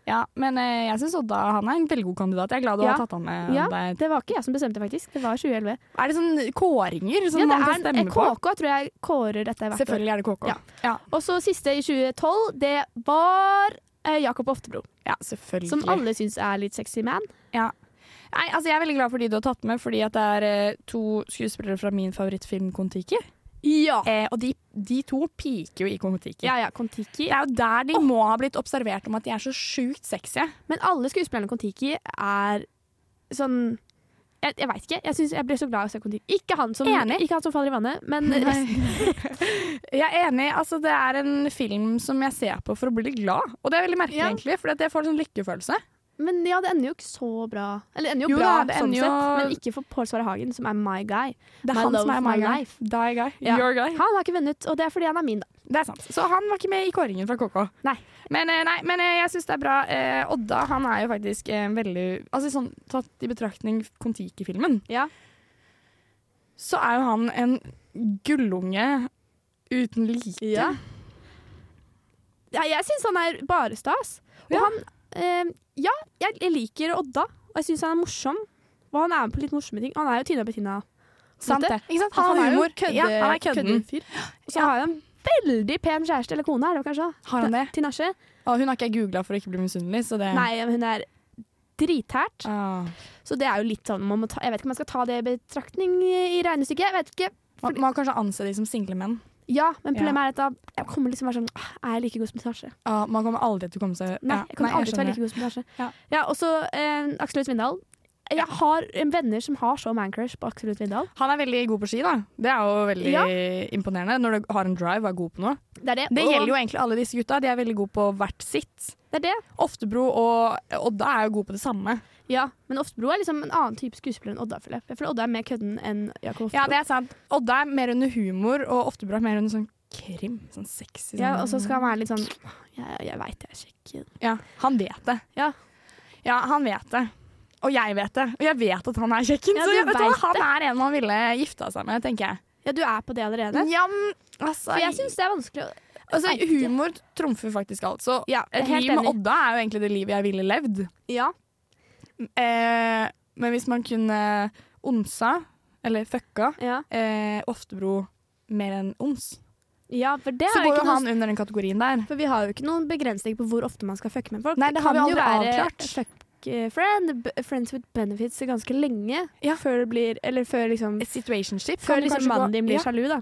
[SPEAKER 3] Ja, men eh, jeg syns Odda han er en veldig god kandidat. Jeg er glad du
[SPEAKER 2] Ja.
[SPEAKER 3] har tatt han med
[SPEAKER 2] Ja,
[SPEAKER 3] deg.
[SPEAKER 2] det var ikke jeg som bestemte faktisk Det var 2011
[SPEAKER 3] Er det sånn kåringer som
[SPEAKER 2] Ja, det
[SPEAKER 3] man kan
[SPEAKER 2] er en
[SPEAKER 3] stemme på?
[SPEAKER 2] KK, tror jeg kårer dette hvert år
[SPEAKER 3] Selvfølgelig er det KK.
[SPEAKER 2] Ja. Og så siste i 2012 Det var eh, Jakob Oftebro
[SPEAKER 3] Ja, selvfølgelig.
[SPEAKER 2] Som alle syns er litt sexy man.
[SPEAKER 3] Nei, altså Jeg er veldig glad for de du har tatt med, fordi at det er eh, to skuespillere fra min favorittfilm Kon-Tiki.
[SPEAKER 2] Ja.
[SPEAKER 3] Eh, og de, de to piker jo i Kon-Tiki.
[SPEAKER 2] Ja, ja, Kon-Tiki.
[SPEAKER 3] Det er jo der de må ha blitt observert om at de er så sjukt sexy.
[SPEAKER 2] Men alle skuespillerne i Kon-Tiki er sånn Jeg, jeg veit ikke. Jeg, synes jeg ble så glad i å se Kon-Tiki. Ikke, han som-
[SPEAKER 3] Enig.
[SPEAKER 2] ikke han som faller i vannet, men resten.
[SPEAKER 3] jeg er enig. altså Det er en film som jeg ser på for å bli litt glad. Og det er veldig merkelig,
[SPEAKER 2] Ja.
[SPEAKER 3] egentlig, for jeg får en sånn lykkefølelse.
[SPEAKER 2] Men ja, det ender jo ikke så bra. Eller det ender jo,
[SPEAKER 3] Jo
[SPEAKER 2] bra,
[SPEAKER 3] da, det
[SPEAKER 2] sånn
[SPEAKER 3] ender jo-
[SPEAKER 2] sett, men ikke for Pål Sverre Hagen, som er my guy.
[SPEAKER 3] Det er
[SPEAKER 2] My
[SPEAKER 3] han
[SPEAKER 2] love,
[SPEAKER 3] som er
[SPEAKER 2] my
[SPEAKER 3] my guy.
[SPEAKER 2] life.
[SPEAKER 3] Die guy.
[SPEAKER 2] Ja.
[SPEAKER 3] Your guy.
[SPEAKER 2] Han har ikke vunnet, og det er fordi han er min, da.
[SPEAKER 3] Det er sant. Så han var ikke med i kåringen fra KK.
[SPEAKER 2] Nei.
[SPEAKER 3] Men, eh, nei, men eh, jeg syns det er bra. Eh, Odda han er jo faktisk eh, veldig Altså sånn tatt i betraktning Kon-Tiki-filmen,
[SPEAKER 2] Ja.
[SPEAKER 3] så er jo han en gullunge uten like.
[SPEAKER 2] Ja. Ja, jeg syns han er bare stas. Og
[SPEAKER 3] Ja.
[SPEAKER 2] han eh, Ja, jeg, jeg liker Odda, og jeg syns han er morsom. Og han er med på litt morsomme ting. Han er jo Tina Bettina.
[SPEAKER 3] Sant det. Ikke sant?
[SPEAKER 2] Han, er jo kødde,
[SPEAKER 3] Ja, han er kødden.
[SPEAKER 2] køddefyr. Og så har han en veldig pen kjæreste, eller kone er det jo kanskje? da?
[SPEAKER 3] Har han det?
[SPEAKER 2] Tinashe.
[SPEAKER 3] Og hun har ikke jeg googla for å ikke bli misunnelig, så det
[SPEAKER 2] Nei, men hun er drithært.
[SPEAKER 3] Ah.
[SPEAKER 2] Så det er jo litt sånn man må ta, Jeg vet ikke om man skal ta det i betraktning i regnestykket. Jeg vet ikke.
[SPEAKER 3] Man man må kanskje anse de som single menn.
[SPEAKER 2] Ja, men problemet er at da jeg kommer liksom være sånn «Åh, Er jeg like god som Tinashe?
[SPEAKER 3] Ah, man kommer aldri til å komme seg
[SPEAKER 2] Nei,
[SPEAKER 3] Ja,
[SPEAKER 2] jeg kommer
[SPEAKER 3] nei,
[SPEAKER 2] aldri til å være
[SPEAKER 3] skjønner.
[SPEAKER 2] like god som Tinashe.
[SPEAKER 3] Ja.
[SPEAKER 2] Ja, og så eh, Aksel Lund Svindal. Jeg har eh, venner som har så mancrush på Aksel Lund Svindal.
[SPEAKER 3] Han er veldig god på ski, da. Det er jo veldig
[SPEAKER 2] Ja.
[SPEAKER 3] imponerende. Når du har en drive og er god på noe.
[SPEAKER 2] Det er det.
[SPEAKER 3] Det
[SPEAKER 2] og-
[SPEAKER 3] gjelder jo egentlig alle disse gutta. De er veldig gode på hvert sitt.
[SPEAKER 2] Det er det.
[SPEAKER 3] Oftebro og Odda er jo gode på det samme.
[SPEAKER 2] Ja, men Oftebro er liksom en annen type skuespiller enn Odda, føler jeg. Jeg føler Odda er mer kødden enn Jakob Oftebro.
[SPEAKER 3] Ja, det er sant. Odda er mer under humor, og Oftebro er mer under sånn krim. Sånn sexy.
[SPEAKER 2] Ja,
[SPEAKER 3] sånn-
[SPEAKER 2] og så skal han være litt sånn Liksom, Jeg, jeg veit jeg er kjekk.
[SPEAKER 3] ja, han vet det.
[SPEAKER 2] Ja.
[SPEAKER 3] Ja, han vet det. Og jeg vet det. Og jeg vet at han er kjekken.
[SPEAKER 2] Ja,
[SPEAKER 3] så
[SPEAKER 2] du
[SPEAKER 3] jeg vet
[SPEAKER 2] vet
[SPEAKER 3] at han er en man ville gifta seg med, tenker jeg.
[SPEAKER 2] Ja, du er på det allerede?
[SPEAKER 3] Ja, men, altså,
[SPEAKER 2] For jeg syns det er vanskelig å
[SPEAKER 3] altså,
[SPEAKER 2] jeg vet ikke.
[SPEAKER 3] humor trumfer faktisk alt. Så
[SPEAKER 2] Ja,
[SPEAKER 3] et liv med Odda er jo egentlig det livet jeg ville levd.
[SPEAKER 2] Ja.
[SPEAKER 3] Eh, men hvis man kunne onsa, eller fucka,
[SPEAKER 2] Ja.
[SPEAKER 3] eh, Oftebro mer enn ons,
[SPEAKER 2] ja, for det
[SPEAKER 3] så
[SPEAKER 2] er jo
[SPEAKER 3] går jo
[SPEAKER 2] ikke
[SPEAKER 3] han
[SPEAKER 2] noe
[SPEAKER 3] under den kategorien der.
[SPEAKER 2] For vi har jo ikke noen begrensning på hvor ofte man skal fucke med folk.
[SPEAKER 3] Nei, det har
[SPEAKER 2] kan
[SPEAKER 3] vi
[SPEAKER 2] jo
[SPEAKER 3] aldri
[SPEAKER 2] være
[SPEAKER 3] avklart.
[SPEAKER 2] Fuck eh, friend, b- friends with benefits ganske lenge
[SPEAKER 3] Ja.
[SPEAKER 2] før det blir Eller før liksom
[SPEAKER 3] Et situationship. kan
[SPEAKER 2] Før
[SPEAKER 3] du
[SPEAKER 2] liksom
[SPEAKER 3] kanskje
[SPEAKER 2] mannen
[SPEAKER 3] gå-
[SPEAKER 2] din blir
[SPEAKER 3] ja,
[SPEAKER 2] sjalu, da.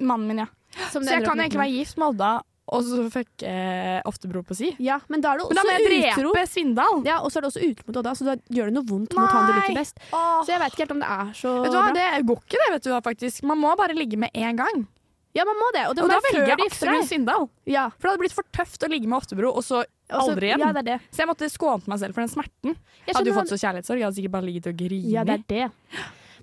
[SPEAKER 3] mannen min, ja.
[SPEAKER 2] Som det
[SPEAKER 3] Så jeg
[SPEAKER 2] ender
[SPEAKER 3] kan
[SPEAKER 2] opp
[SPEAKER 3] egentlig
[SPEAKER 2] med.
[SPEAKER 3] være gift med Odda, og så fucke eh, Oftebro på si.
[SPEAKER 2] Ja, men da er det
[SPEAKER 3] Men da må
[SPEAKER 2] også
[SPEAKER 3] jeg
[SPEAKER 2] utro.
[SPEAKER 3] drepe Svindal!
[SPEAKER 2] Ja, og så er det også utro mot Odda, så da gjør det noe vondt mot han du
[SPEAKER 3] Nei.
[SPEAKER 2] liker best. Så jeg veit ikke helt om det er så
[SPEAKER 3] Vet du
[SPEAKER 2] bra.
[SPEAKER 3] hva, Det går ikke, det. vet du hva, faktisk Man må bare ligge med én gang.
[SPEAKER 2] Ja, man må det. Og det
[SPEAKER 3] og
[SPEAKER 2] må
[SPEAKER 3] da
[SPEAKER 2] være før
[SPEAKER 3] velger
[SPEAKER 2] du
[SPEAKER 3] jeg
[SPEAKER 2] gifter
[SPEAKER 3] Aksel
[SPEAKER 2] deg.
[SPEAKER 3] Lund Svindal.
[SPEAKER 2] Ja.
[SPEAKER 3] For det hadde blitt for tøft å ligge med Oftebro, og så
[SPEAKER 2] Og så-
[SPEAKER 3] Aldri igjen.
[SPEAKER 2] Ja, det er det.
[SPEAKER 3] Så jeg måtte skånt meg selv for den smerten.
[SPEAKER 2] Jeg
[SPEAKER 3] hadde
[SPEAKER 2] skjønner
[SPEAKER 3] jo
[SPEAKER 2] hva-
[SPEAKER 3] fått så kjærlighetssorg, jeg hadde sikkert bare ligget og grinet.
[SPEAKER 2] Ja, det er det.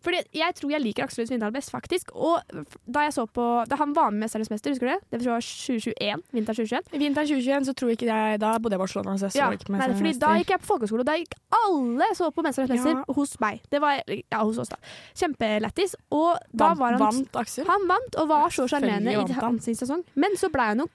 [SPEAKER 2] Fordi jeg tror jeg liker Aksel Lund Svindal best, faktisk. Og f- da jeg så på Da han var med med 'Mesternes mester', husker du det? Det var 2021. Vinter 2021.
[SPEAKER 3] I vinteren 2021 så tror jeg ikke jeg Da bodde jeg i Barcelona. Så jeg så
[SPEAKER 2] Ja,
[SPEAKER 3] ikke
[SPEAKER 2] nei, fordi da gikk jeg på folkehøyskole, og da gikk alle så på 'Mesternes mester'
[SPEAKER 3] Ja.
[SPEAKER 2] hos meg. Det var Ja, hos oss, da. Kjempelættis. Og da var han
[SPEAKER 3] Vant Aksel?
[SPEAKER 2] Han vant og var så sjarmerende
[SPEAKER 3] Selvfølgelig
[SPEAKER 2] i
[SPEAKER 3] vant han.
[SPEAKER 2] hans sesong. Men så ble han nok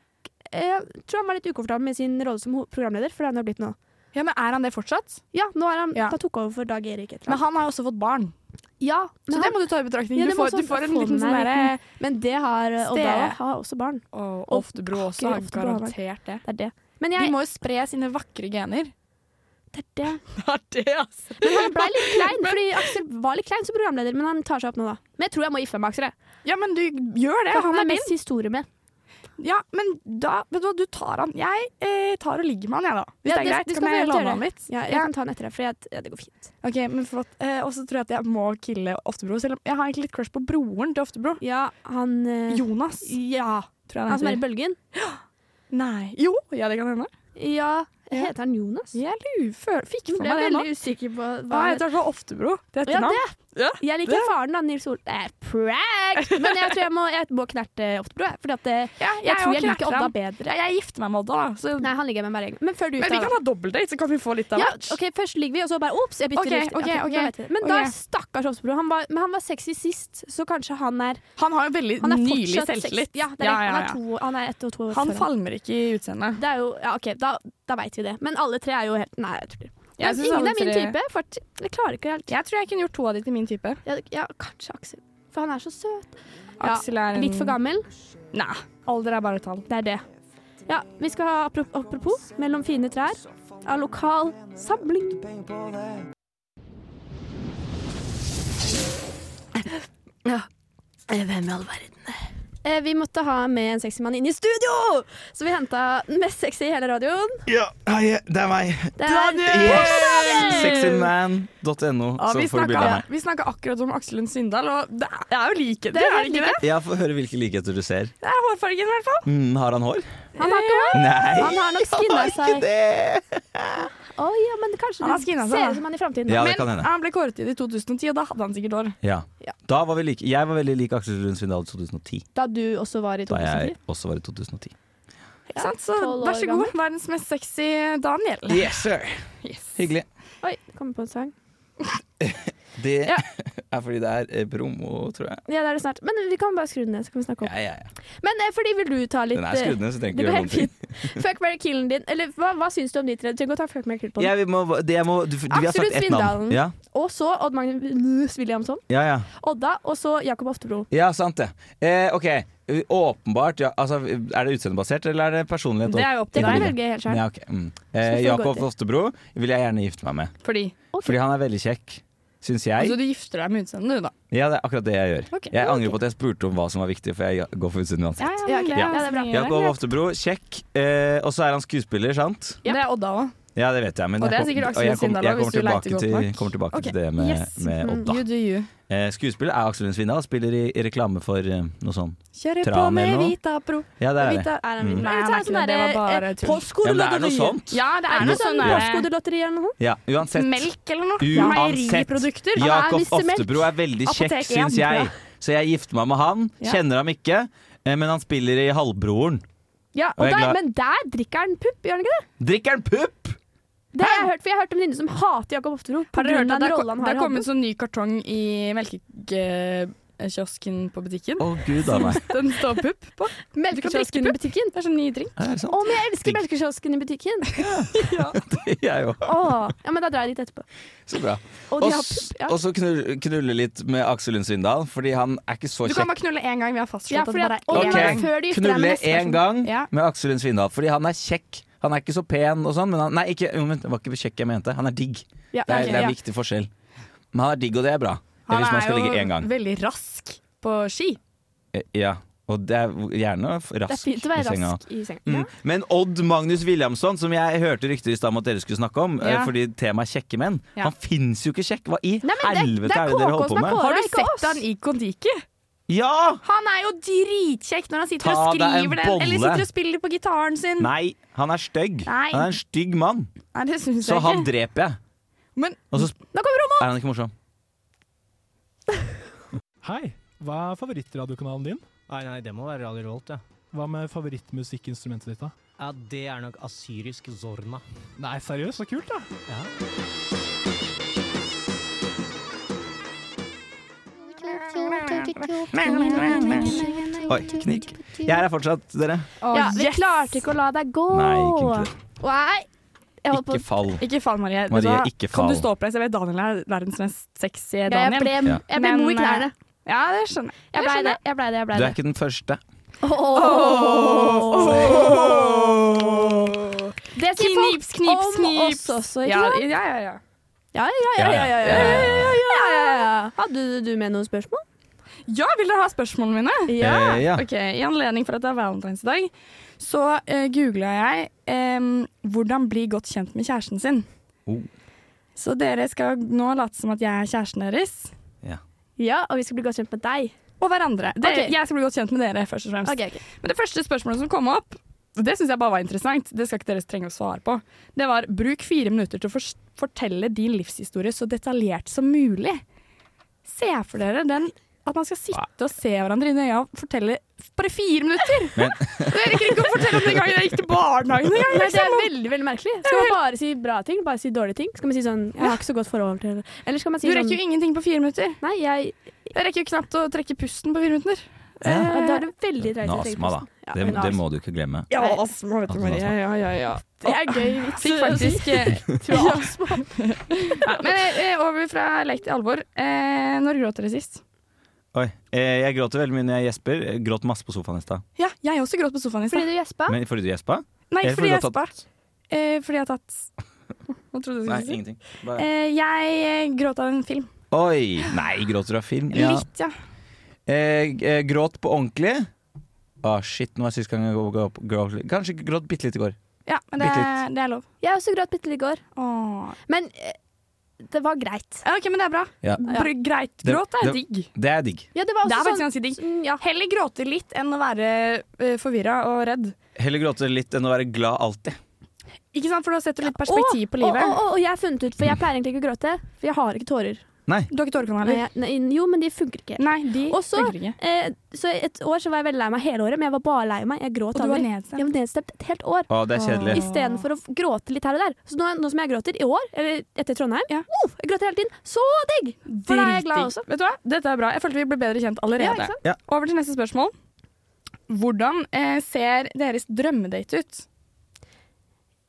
[SPEAKER 2] eh, Jeg tror han var litt ukomfortabel med sin rolle som ho- programleder, for det har han jo blitt nå.
[SPEAKER 3] Ja, men Er han det fortsatt?
[SPEAKER 2] Ja, nå er han,
[SPEAKER 3] Ja.
[SPEAKER 2] da tok han over for Dag Erik etter
[SPEAKER 3] Men han har jo også fått barn,
[SPEAKER 2] Ja,
[SPEAKER 3] så
[SPEAKER 2] men,
[SPEAKER 3] det
[SPEAKER 2] han,
[SPEAKER 3] må du ta i betraktning.
[SPEAKER 2] Ja, det
[SPEAKER 3] du,
[SPEAKER 2] må
[SPEAKER 3] får, du
[SPEAKER 2] også
[SPEAKER 3] får en
[SPEAKER 2] få
[SPEAKER 3] liten
[SPEAKER 2] med
[SPEAKER 3] sånn
[SPEAKER 2] meg
[SPEAKER 3] derre
[SPEAKER 2] liten- men det har eh,
[SPEAKER 3] Ste-
[SPEAKER 2] Odda har også barn.
[SPEAKER 3] Og
[SPEAKER 2] Og
[SPEAKER 3] Oftebro også
[SPEAKER 2] Aker
[SPEAKER 3] har
[SPEAKER 2] Oftebro har barn.
[SPEAKER 3] garantert det.
[SPEAKER 2] Det er det. Men
[SPEAKER 3] De
[SPEAKER 2] jeg,
[SPEAKER 3] må jo spre sine vakre gener.
[SPEAKER 2] det er det.
[SPEAKER 3] Det er det, altså.
[SPEAKER 2] Men han ble litt klein, fordi Aksel var litt klein som programleder, men han tar seg opp nå, da. Men jeg tror jeg må gifte meg med Aksel, jeg.
[SPEAKER 3] Ja, men du gjør det.
[SPEAKER 2] For
[SPEAKER 3] Han er min.
[SPEAKER 2] mest historie med.
[SPEAKER 3] Ja, men da Vet du hva, du tar han. Jeg eh, tar og ligger med han, jeg, da. Hvis
[SPEAKER 2] Ja,
[SPEAKER 3] det er
[SPEAKER 2] det-
[SPEAKER 3] greit.
[SPEAKER 2] det skal
[SPEAKER 3] kan jeg
[SPEAKER 2] vi gjøre,
[SPEAKER 3] låne han litt?
[SPEAKER 2] Ja, jeg
[SPEAKER 3] Ja.
[SPEAKER 2] kan ta den etter deg, for jeg, ja, det går fint.
[SPEAKER 3] Ok, men flott. Eh, og så tror jeg at jeg må kille Oftebro, selv om jeg har egentlig litt crush på broren til Oftebro.
[SPEAKER 2] Ja, han eh,
[SPEAKER 3] Jonas,
[SPEAKER 2] Ja.
[SPEAKER 3] tror jeg
[SPEAKER 2] Han som er
[SPEAKER 3] han
[SPEAKER 2] i
[SPEAKER 3] heter.
[SPEAKER 2] bølgen?
[SPEAKER 3] Nei. Jo, ja, det kan hende.
[SPEAKER 2] Ja.
[SPEAKER 3] Ja.
[SPEAKER 2] Heter han Jonas?
[SPEAKER 3] Jeg lurer, fikk for
[SPEAKER 2] Jeg er
[SPEAKER 3] meg det nå. Ah,
[SPEAKER 2] veldig usikker på hva
[SPEAKER 3] Hva heter i hvert fall Oftebro? Det er
[SPEAKER 2] Ja,
[SPEAKER 3] etternavn.
[SPEAKER 2] Jeg liker faren da, Nils Ole eh, Prank! Men jeg tror jeg må, jeg må knerte Oftebro. jeg, Fordi at eh,
[SPEAKER 3] Ja,
[SPEAKER 2] jeg, tror jeg liker Odda bedre.
[SPEAKER 3] Ja, jeg gifter meg med Odda, da. Så.
[SPEAKER 2] Nei, han ligger med meg bare. Men før du
[SPEAKER 3] Men vi
[SPEAKER 2] gifter
[SPEAKER 3] kan
[SPEAKER 2] deg.
[SPEAKER 3] ha dobbeltdate, så kan vi få litt
[SPEAKER 2] da.
[SPEAKER 3] av
[SPEAKER 2] Ja,
[SPEAKER 3] hvert.
[SPEAKER 2] ok, først ligger vi, og så bare ops, jeg bytter
[SPEAKER 3] Ok,
[SPEAKER 2] luft.
[SPEAKER 3] ok, ok.
[SPEAKER 2] da vet jeg det. Men da
[SPEAKER 3] Ok.
[SPEAKER 2] er stakkars Oftebro. Han var, men han var sexy sist, så kanskje han er
[SPEAKER 3] Han har jo veldig
[SPEAKER 2] Han er
[SPEAKER 3] nylig
[SPEAKER 2] fortsatt
[SPEAKER 3] selvtillit.
[SPEAKER 2] sexy. Ja, det er,
[SPEAKER 3] Ja,
[SPEAKER 2] det.
[SPEAKER 3] ja,
[SPEAKER 2] Han,
[SPEAKER 3] ja.
[SPEAKER 2] er to, han er ett og to år
[SPEAKER 3] Han
[SPEAKER 2] foran.
[SPEAKER 3] falmer ikke i utseendet.
[SPEAKER 2] Det er jo, ja, ok, Da, da veit vi det. Men alle tre er jo helt Nei, jeg tuller.
[SPEAKER 3] Jeg
[SPEAKER 2] Men
[SPEAKER 3] synes
[SPEAKER 2] Ingen
[SPEAKER 3] alle
[SPEAKER 2] er min
[SPEAKER 3] tre-
[SPEAKER 2] type. For, jeg klarer ikke helt
[SPEAKER 3] Jeg tror jeg kunne gjort to av de til min type.
[SPEAKER 2] ja, ja, kanskje Aksel. For han er så søt. Ja,
[SPEAKER 3] Aksel er en
[SPEAKER 2] Litt for gammel.
[SPEAKER 3] Nei. Alder er bare tall.
[SPEAKER 2] Det er det. Ja, vi skal ha apro- apropos mellom fine trær av lokal samling. Hvem i all verden? Eh, vi måtte ha med en sexy mann inn i studio! Så vi henta den mest sexy i hele radioen.
[SPEAKER 6] Ja, hei, det er meg.
[SPEAKER 2] Det er
[SPEAKER 6] Yes!
[SPEAKER 2] Daniel!
[SPEAKER 6] Sexyman.no,
[SPEAKER 3] Ja,
[SPEAKER 6] så
[SPEAKER 3] vi
[SPEAKER 6] får du bilde
[SPEAKER 3] snakka
[SPEAKER 6] av meg.
[SPEAKER 3] vi snakka akkurat om Aksel Lund Svindal, og det er- det er jo likheter,
[SPEAKER 2] Det er
[SPEAKER 3] er det ikke det?
[SPEAKER 6] Ja, Få høre hvilke likheter du ser.
[SPEAKER 3] Det er hårfargen, i hvert fall.
[SPEAKER 6] Mm, har han hår?
[SPEAKER 2] Han har ikke hår.
[SPEAKER 6] Nei,
[SPEAKER 2] Han har nok skinna
[SPEAKER 6] ikke
[SPEAKER 2] seg.
[SPEAKER 6] det!
[SPEAKER 2] Å ja, men kanskje
[SPEAKER 3] Han har
[SPEAKER 2] du
[SPEAKER 3] skinnet seg,
[SPEAKER 2] ser
[SPEAKER 3] da.
[SPEAKER 2] ut som han i framtiden.
[SPEAKER 6] Ja, det
[SPEAKER 3] Men
[SPEAKER 6] kan hende.
[SPEAKER 3] han ble kåret til det i 2010, og da hadde han sikkert hår.
[SPEAKER 6] Ja. Da var vi like. Jeg var veldig lik Aksel Lund Svindal i 2010,
[SPEAKER 2] Da du også var i
[SPEAKER 6] da
[SPEAKER 2] 2010.
[SPEAKER 6] jeg også var i 2010.
[SPEAKER 3] Ikke sant? Så
[SPEAKER 2] 12 år
[SPEAKER 3] vær så god, verdens mest sexy Daniel.
[SPEAKER 6] Yes, sir. Hyggelig.
[SPEAKER 2] Oi, det kommer på en sang.
[SPEAKER 6] Det
[SPEAKER 2] Ja.
[SPEAKER 6] er fordi det er eh, promo, tror jeg.
[SPEAKER 2] Ja, det er det snart. Men vi kan bare skru den ned, så kan vi snakke om
[SPEAKER 6] Ja, ja, ja.
[SPEAKER 2] Men eh, fordi vil du ta litt
[SPEAKER 6] Den er skrudd ned, så
[SPEAKER 2] eh,
[SPEAKER 6] trenger
[SPEAKER 2] Det
[SPEAKER 6] jeg
[SPEAKER 2] går
[SPEAKER 6] ikke
[SPEAKER 2] helt
[SPEAKER 6] gjøre noe.
[SPEAKER 2] fint. Fuck Mary Killen din. Eller hva, hva syns du om de tre? Du trenger ikke å ta Fuck Mary Kill på den.
[SPEAKER 6] Jeg må, det jeg må, du, vi har
[SPEAKER 2] Aksel Lund
[SPEAKER 6] sagt ett navn.
[SPEAKER 2] Svindalen.
[SPEAKER 6] Ja,
[SPEAKER 2] Og så Odd Magnus Williamson.
[SPEAKER 6] ja, ja.
[SPEAKER 2] Odda. Og så Jakob Oftebro.
[SPEAKER 6] Ja, sant det. Eh, ok, U- åpenbart. Ja, altså, er det utseendebasert, eller er det personlighet?
[SPEAKER 3] Det er jo opp
[SPEAKER 2] Det
[SPEAKER 3] til
[SPEAKER 2] kan
[SPEAKER 6] Nei.
[SPEAKER 2] du
[SPEAKER 3] deg.
[SPEAKER 2] velge helt sjøl.
[SPEAKER 6] Ja, ok, mm.
[SPEAKER 2] Så
[SPEAKER 6] eh,
[SPEAKER 2] får det gå
[SPEAKER 6] Jakob
[SPEAKER 2] til.
[SPEAKER 6] Oftebro vil jeg gjerne gifte meg med.
[SPEAKER 3] Fordi
[SPEAKER 6] Fordi han er veldig kjekk, syns jeg.
[SPEAKER 3] Altså, du gifter deg med utseendet, du, da.
[SPEAKER 6] Ja, det er akkurat det jeg gjør.
[SPEAKER 3] Ok.
[SPEAKER 6] Jeg angrer på at jeg spurte om hva som var viktig, for jeg går for utseendet
[SPEAKER 3] ja,
[SPEAKER 6] uansett.
[SPEAKER 2] Ja, ok. Ja, det er bra.
[SPEAKER 6] Jakob Oftebro, kjekk. Eh, og så er han skuespiller, sant?
[SPEAKER 3] Det er Odda òg.
[SPEAKER 6] Ja, det vet jeg. Men
[SPEAKER 3] Og det er
[SPEAKER 6] jeg,
[SPEAKER 3] sikkert
[SPEAKER 6] kom,
[SPEAKER 3] Aksel
[SPEAKER 6] og jeg,
[SPEAKER 3] Lund
[SPEAKER 6] kom,
[SPEAKER 3] Svindal
[SPEAKER 6] jeg
[SPEAKER 3] også, hvis
[SPEAKER 6] kommer
[SPEAKER 3] du leter
[SPEAKER 6] tilbake, til,
[SPEAKER 3] godt nok.
[SPEAKER 6] kommer tilbake
[SPEAKER 3] Ok,
[SPEAKER 6] til det med,
[SPEAKER 3] yes. Mm,
[SPEAKER 6] med Odda.
[SPEAKER 3] You do you.
[SPEAKER 6] Eh, skuespiller er Aksel Lund Svindal. Spiller i, i reklame for eh, noe sånt.
[SPEAKER 3] Kjører på
[SPEAKER 6] Tran
[SPEAKER 3] med
[SPEAKER 6] eller noe?
[SPEAKER 3] Vita Pro.
[SPEAKER 6] Ja, det er det.
[SPEAKER 3] Vita.
[SPEAKER 2] Er han
[SPEAKER 6] Mm.
[SPEAKER 2] Nei,
[SPEAKER 3] Nei, han er ikke det. Det var bare tull.
[SPEAKER 6] Ja, men det er noe sånt.
[SPEAKER 3] Ja, det er noe sånn
[SPEAKER 6] Ja.
[SPEAKER 3] der-
[SPEAKER 2] Postkodelotteri eller noe?
[SPEAKER 6] Ja, uansett.
[SPEAKER 3] melk eller noe.
[SPEAKER 6] Uansett.
[SPEAKER 3] Meieriprodukter.
[SPEAKER 2] Han er
[SPEAKER 6] Jakob
[SPEAKER 2] Mr. Melk.
[SPEAKER 6] Oftebro er veldig
[SPEAKER 3] Apotek
[SPEAKER 6] kjekk,
[SPEAKER 3] igjen,
[SPEAKER 6] syns
[SPEAKER 3] tror
[SPEAKER 6] jeg.
[SPEAKER 3] jeg.
[SPEAKER 6] Så jeg gifter meg med han.
[SPEAKER 3] Ja.
[SPEAKER 6] Kjenner ham ikke, eh, men han spiller i Halvbroren.
[SPEAKER 2] Ja, og
[SPEAKER 6] Og jeg er
[SPEAKER 2] der,
[SPEAKER 6] glad-
[SPEAKER 2] men der drikker han pupp, gjør han ikke det?
[SPEAKER 6] Drikker han pupp?!
[SPEAKER 2] Det har jeg hørt, for jeg har hørt om venninner som hater Jakob Oftebro. på
[SPEAKER 3] Har dere
[SPEAKER 2] grunn av
[SPEAKER 3] hørt at det
[SPEAKER 2] den
[SPEAKER 3] er,
[SPEAKER 2] rollen han
[SPEAKER 3] det
[SPEAKER 2] har
[SPEAKER 3] er
[SPEAKER 2] i
[SPEAKER 3] kommet
[SPEAKER 2] Hamburg?
[SPEAKER 3] sånn ny kartong i melkekiosken på butikken?
[SPEAKER 6] Å, gud a meg.
[SPEAKER 3] Den står pupp på.
[SPEAKER 2] Melkekiosken i butikken.
[SPEAKER 3] Det er sånn ny drink.
[SPEAKER 6] Er det sant?
[SPEAKER 2] Å, men jeg elsker melkekiosken i butikken!
[SPEAKER 6] Jeg òg.
[SPEAKER 2] Å, ja, men da drar jeg dit etterpå.
[SPEAKER 6] Så bra.
[SPEAKER 2] Og
[SPEAKER 6] Og
[SPEAKER 2] de har
[SPEAKER 6] s-
[SPEAKER 2] pupp, ja.
[SPEAKER 6] og så knull- knulle litt med Aksel Lund Svindal, fordi han er ikke så
[SPEAKER 3] Du kan
[SPEAKER 6] kjekk.
[SPEAKER 3] bare knulle én gang. Vi har fastslått
[SPEAKER 2] Ja,
[SPEAKER 3] at
[SPEAKER 2] fordi
[SPEAKER 3] det bare
[SPEAKER 2] at
[SPEAKER 3] er én
[SPEAKER 6] Ok.
[SPEAKER 2] Odda-
[SPEAKER 3] gang.
[SPEAKER 2] før de gifter deg med
[SPEAKER 6] Knulle
[SPEAKER 2] neste
[SPEAKER 6] én
[SPEAKER 2] person.
[SPEAKER 6] gang
[SPEAKER 3] Ja.
[SPEAKER 6] med Aksel Lund Svindal, fordi han er kjekk. Han er ikke så pen og sånn, men han Nei, ikke, jo, men det var ikke kjekk jeg mente. Han er digg.
[SPEAKER 2] Ja,
[SPEAKER 6] Det er,
[SPEAKER 2] ok,
[SPEAKER 6] det er
[SPEAKER 2] ja.
[SPEAKER 6] en viktig forskjell. Men han er digg, og det er bra.
[SPEAKER 3] Han
[SPEAKER 6] hvis man
[SPEAKER 3] er
[SPEAKER 6] skal ligge én
[SPEAKER 3] jo
[SPEAKER 6] gang.
[SPEAKER 3] veldig rask på ski.
[SPEAKER 6] Eh, Ja. Og det er gjerne rask
[SPEAKER 2] Det er fint å være
[SPEAKER 6] i senga.
[SPEAKER 2] rask i senga.
[SPEAKER 6] Mm. Men Odd Magnus Williamson, som jeg hørte rykter i stad om at dere skulle snakke om,
[SPEAKER 3] Ja.
[SPEAKER 6] eh, fordi temaet er kjekke menn,
[SPEAKER 3] Ja.
[SPEAKER 6] han fins jo ikke kjekk! Hva i
[SPEAKER 2] Nei, men det- det
[SPEAKER 6] helvete
[SPEAKER 2] er
[SPEAKER 6] er det dere
[SPEAKER 2] KK
[SPEAKER 6] holder
[SPEAKER 2] som
[SPEAKER 6] på
[SPEAKER 2] er
[SPEAKER 6] med?
[SPEAKER 2] KK.
[SPEAKER 3] Har du
[SPEAKER 2] Ikke oss.
[SPEAKER 3] sett han i Kon-Tiki?
[SPEAKER 6] Ja!
[SPEAKER 3] Han er jo dritkjekk når han sitter
[SPEAKER 6] Ta
[SPEAKER 3] og
[SPEAKER 6] deg en
[SPEAKER 3] skriver det, eller
[SPEAKER 6] bolle.
[SPEAKER 3] sitter og spiller på gitaren sin. Nei,
[SPEAKER 6] Nei, han er stygg.
[SPEAKER 3] Nei.
[SPEAKER 6] Han er en stygg mann.
[SPEAKER 3] det syns jeg
[SPEAKER 6] Så han
[SPEAKER 3] ikke.
[SPEAKER 6] dreper jeg.
[SPEAKER 3] Men
[SPEAKER 6] Og så
[SPEAKER 2] Da kommer Roman!
[SPEAKER 6] er han ikke morsom.
[SPEAKER 7] Hei, hva er favorittradiokanalen din?
[SPEAKER 8] Nei, nei, det må være Radio Revolt, ja.
[SPEAKER 7] Hva med favorittmusikkinstrumentet ditt, da?
[SPEAKER 8] Ja, Det er nok asyrisk zorna.
[SPEAKER 7] Nei, seriøst, så kult, da!
[SPEAKER 8] Ja.
[SPEAKER 6] Oi, knikk. Jeg er her fortsatt, dere.
[SPEAKER 2] Ja, vi klarte ikke å la deg gå.
[SPEAKER 6] Nei, ikke egentlig.
[SPEAKER 2] Nei, jeg holdt på
[SPEAKER 6] Ikke fall.
[SPEAKER 3] Ikke fall, Marie. Vet du
[SPEAKER 6] Marie,
[SPEAKER 3] hva?
[SPEAKER 6] ikke
[SPEAKER 3] Kan du
[SPEAKER 6] fall.
[SPEAKER 3] stå oppreist? Jeg vet Daniel er verdens mest sexy
[SPEAKER 2] ja, jeg
[SPEAKER 3] Daniel.
[SPEAKER 2] ble,
[SPEAKER 6] Ja.
[SPEAKER 2] jeg ble mo i
[SPEAKER 3] Men,
[SPEAKER 2] knærne.
[SPEAKER 3] Ja, det skjønner jeg.
[SPEAKER 2] eh, Jeg blei
[SPEAKER 3] skjønner.
[SPEAKER 2] det. Jeg blei det, jeg blei
[SPEAKER 6] Du er
[SPEAKER 2] det.
[SPEAKER 6] ikke den første.
[SPEAKER 2] Det sier folk
[SPEAKER 3] Knips, knips,
[SPEAKER 2] om
[SPEAKER 3] knips.
[SPEAKER 2] oss også, ikke
[SPEAKER 3] Ja,
[SPEAKER 2] sant?
[SPEAKER 3] ja, ja, ja.
[SPEAKER 2] Ja, ja, ja. ja, ja, ja, ja, ja, ja, ja. Hadde du, du med noen spørsmål?
[SPEAKER 3] ja, vil dere ha spørsmålene mine?
[SPEAKER 6] Eh, ja.
[SPEAKER 3] Ok, I anledning for at det er valentinsdag, så uh, googla jeg em, 'hvordan bli godt kjent med kjæresten sin'.
[SPEAKER 6] Oh.
[SPEAKER 3] Så dere skal nå late som at jeg er kjæresten deres.
[SPEAKER 2] Ja, og vi skal bli godt kjent med deg.
[SPEAKER 3] Og hverandre. Dere,
[SPEAKER 2] Ok.
[SPEAKER 3] Jeg skal bli godt kjent med dere, først og fremst.
[SPEAKER 2] Ok, ok.
[SPEAKER 3] Men det første spørsmålet som kom opp, det syns jeg bare var interessant. Det skal ikke dere trenge å svare på. Det var 'bruk fire minutter til å fors- fortelle din livshistorie så detaljert som mulig'. Se for dere den at man skal sitte og se hverandre inn i øya og fortelle bare fire minutter!
[SPEAKER 6] Men-
[SPEAKER 3] Dere rekker ikke å fortelle om den gangen jeg gikk til barnehagen
[SPEAKER 2] Nei,
[SPEAKER 3] engang!
[SPEAKER 2] det
[SPEAKER 3] Liksom.
[SPEAKER 2] er veldig veldig merkelig. Skal man bare si bra ting? Bare si dårlige ting? Skal man si sånn 'Jeg har ikke så godt forhold til Eller skal man si
[SPEAKER 3] Du rekker jo
[SPEAKER 2] sånn
[SPEAKER 3] ingenting på fire minutter.
[SPEAKER 2] Nei, jeg
[SPEAKER 3] Jeg rekker jo knapt å trekke pusten på fire minutter.
[SPEAKER 2] Ja, Da er det veldig dreit å tenke
[SPEAKER 6] Nasma, da.
[SPEAKER 2] på. Ja,
[SPEAKER 6] Det,
[SPEAKER 2] men
[SPEAKER 6] det
[SPEAKER 2] astma.
[SPEAKER 6] må du ikke glemme.
[SPEAKER 3] Ja, altså, astma, vet
[SPEAKER 6] du, Marie.
[SPEAKER 3] Ja, ja, ja.
[SPEAKER 2] Det er gøy vits.
[SPEAKER 3] Fikk faktisk eh,
[SPEAKER 2] Ja, astma.
[SPEAKER 3] Ja, Men eh, over fra lek til alvor. Eh, når gråt dere sist?
[SPEAKER 6] Oi. eh, Jeg gråter veldig mye når jeg gjesper. Jeg Gråt masse på sofaen i stad.
[SPEAKER 3] Ja, jeg også gråt på sofaen i
[SPEAKER 2] Fordi du gjespa?
[SPEAKER 6] Men fordi du gjespa?
[SPEAKER 3] Nei,
[SPEAKER 6] Eller
[SPEAKER 3] fordi jeg
[SPEAKER 6] du
[SPEAKER 3] gjespa.
[SPEAKER 6] har tatt-
[SPEAKER 3] Eh, fordi jeg har tatt Hva trodde du
[SPEAKER 6] Nei,
[SPEAKER 3] skulle si?
[SPEAKER 6] ingenting. Bare-
[SPEAKER 3] Eh, jeg eh, gråt av en film.
[SPEAKER 6] Oi! Nei, gråter du av film? Ja.
[SPEAKER 3] Litt, ja.
[SPEAKER 6] Jeg, eh, gråt på ordentlig. Å, shit, nå var sist gang jeg gråt- gråt gråt- Kanskje gråt bitte litt i går.
[SPEAKER 3] ja men det
[SPEAKER 6] Bitte
[SPEAKER 3] er, det er lov.
[SPEAKER 2] Jeg også gråt bitte litt i går.
[SPEAKER 3] Åh.
[SPEAKER 2] Men eh, det var greit.
[SPEAKER 3] Ja, OK, men det er bra.
[SPEAKER 6] Ja.
[SPEAKER 3] Br greit
[SPEAKER 6] Det-
[SPEAKER 3] gråt er
[SPEAKER 6] det-
[SPEAKER 3] digg.
[SPEAKER 6] Det er digg.
[SPEAKER 2] Ja, det var
[SPEAKER 3] Det
[SPEAKER 2] også
[SPEAKER 3] er faktisk
[SPEAKER 2] sånn
[SPEAKER 3] ganske digg.
[SPEAKER 2] Mm, Ja.
[SPEAKER 3] Heller gråte litt enn å være uh, forvirra og redd.
[SPEAKER 6] Heller gråte litt enn å være glad alltid.
[SPEAKER 3] Ikke sant, For da setter du litt
[SPEAKER 2] Å,
[SPEAKER 3] perspektiv på livet.
[SPEAKER 2] Og, og, og, og jeg har funnet ut, for jeg pleier egentlig ikke å gråte, for jeg har ikke tårer.
[SPEAKER 6] Nei.
[SPEAKER 3] Du har ikke tårekanaler?
[SPEAKER 2] Nei, jeg- nei, jo, men de funker ikke.
[SPEAKER 3] Nei, de
[SPEAKER 2] Og så-
[SPEAKER 3] funker ikke.
[SPEAKER 2] Eh, så et år så var jeg veldig lei meg hele året, men jeg var bare lei meg. Jeg gråt
[SPEAKER 3] Og du var
[SPEAKER 2] aldri.
[SPEAKER 3] nedstemt.
[SPEAKER 2] Jeg var nedstemt et helt år.
[SPEAKER 6] Å, det er kjedelig.
[SPEAKER 2] Istedenfor å f- gråte litt her og der. Så nå, nå som jeg gråter i år, eller etter Trondheim,
[SPEAKER 3] Ja.
[SPEAKER 2] oh, jeg gråter hele tiden. Så digg! For da er jeg glad også.
[SPEAKER 3] Vet du hva? Dette er bra. Jeg følte vi ble bedre kjent
[SPEAKER 2] Ja,
[SPEAKER 3] allerede.
[SPEAKER 2] ikke sant?
[SPEAKER 3] Over til neste spørsmål. Hvordan eh, ser deres drømmedate ut?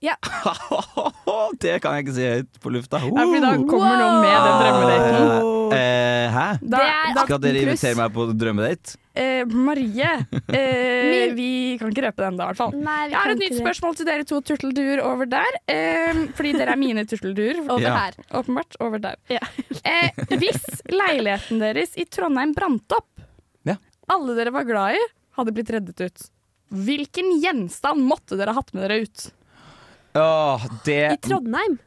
[SPEAKER 6] det kan jeg ikke si høyt på lufta.
[SPEAKER 3] Ja, for da
[SPEAKER 6] Oh.
[SPEAKER 3] kommer noen med den drømmedaten.
[SPEAKER 6] Eh, hæ?
[SPEAKER 3] Da,
[SPEAKER 2] Det er-
[SPEAKER 3] da,
[SPEAKER 6] Skal dere invitere meg på drømmedate?
[SPEAKER 3] eh, Marie, eh,
[SPEAKER 2] Min-
[SPEAKER 3] vi kan ikke røpe den da, i hvert fall.
[SPEAKER 2] Nei, vi
[SPEAKER 3] Jeg har
[SPEAKER 2] kan
[SPEAKER 3] et nytt
[SPEAKER 2] ikke det.
[SPEAKER 3] spørsmål til dere to turtelduer over der. Eh, fordi dere er mine turtelduer.
[SPEAKER 2] Over
[SPEAKER 6] Ja.
[SPEAKER 2] her.
[SPEAKER 3] Åpenbart over der.
[SPEAKER 2] Ja.
[SPEAKER 3] eh, hvis leiligheten deres i Trondheim brant opp,
[SPEAKER 6] Ja.
[SPEAKER 3] alle dere var glad i, hadde blitt reddet ut. Hvilken gjenstand måtte dere ha hatt med dere ut?
[SPEAKER 6] Åh,
[SPEAKER 2] I
[SPEAKER 6] det
[SPEAKER 2] Trondheim.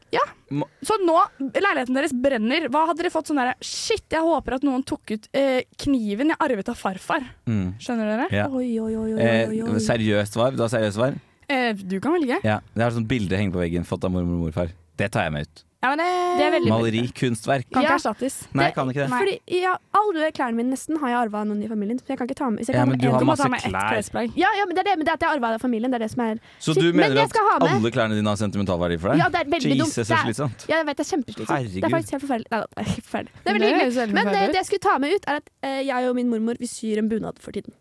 [SPEAKER 3] Så nå, leiligheten deres brenner. Hva hadde dere fått sånn derre Shit, jeg håper at noen tok ut eh, kniven jeg arvet av farfar.
[SPEAKER 6] mm.
[SPEAKER 3] Skjønner dere?
[SPEAKER 6] Ja.
[SPEAKER 2] Oi, oi, oi, oi,
[SPEAKER 6] eh,
[SPEAKER 2] oi, oi.
[SPEAKER 6] Seriøst svar? Du har seriøst svar?
[SPEAKER 3] Eh, du kan velge.
[SPEAKER 6] Ja. Jeg har sånn bilde hengende på veggen, fått av mormor og morfar. Det tar jeg med ut.
[SPEAKER 3] Ja, men eh, det,
[SPEAKER 2] Det er veldig
[SPEAKER 6] Maleri, kunstverk.
[SPEAKER 3] Kan ikke
[SPEAKER 2] Ja.
[SPEAKER 3] erstattes.
[SPEAKER 6] Nei, jeg kan ikke det.
[SPEAKER 2] Fordi ja, alle klærne mine nesten har jeg arva av noen i familien. Så jeg kan ikke ta med, så jeg
[SPEAKER 6] Ja,
[SPEAKER 2] kan
[SPEAKER 6] men
[SPEAKER 2] ta
[SPEAKER 6] du
[SPEAKER 2] med
[SPEAKER 6] har
[SPEAKER 2] en-
[SPEAKER 3] Du må ta
[SPEAKER 6] masse
[SPEAKER 3] med ett
[SPEAKER 6] klær.
[SPEAKER 3] klesplagg.
[SPEAKER 2] ja, ja, men det er det, men det er at jeg arva det av familien. Det er det som er
[SPEAKER 6] Så
[SPEAKER 2] Shit,
[SPEAKER 6] du
[SPEAKER 2] men
[SPEAKER 6] mener
[SPEAKER 2] jeg
[SPEAKER 6] at
[SPEAKER 2] skal ha med-
[SPEAKER 6] alle klærne dine har sentimentale verdi for deg?
[SPEAKER 2] Ja, det er veldig dumt.
[SPEAKER 6] Jesus,
[SPEAKER 2] Det
[SPEAKER 6] så
[SPEAKER 2] er-
[SPEAKER 6] slitsomt.
[SPEAKER 2] Ja, jeg vet, det er kjempeslitsomt. Det
[SPEAKER 6] Herregud.
[SPEAKER 2] er faktisk helt forferdelig. Nei, da, det er ikke forferdelig. Det er veldig
[SPEAKER 3] Det
[SPEAKER 2] hyggelig.
[SPEAKER 3] høres veldig
[SPEAKER 2] Men eh,
[SPEAKER 3] forferdelig ut.
[SPEAKER 2] det jeg skulle ta med ut, er at eh, jeg og min mormor vi syr en bunad for tiden.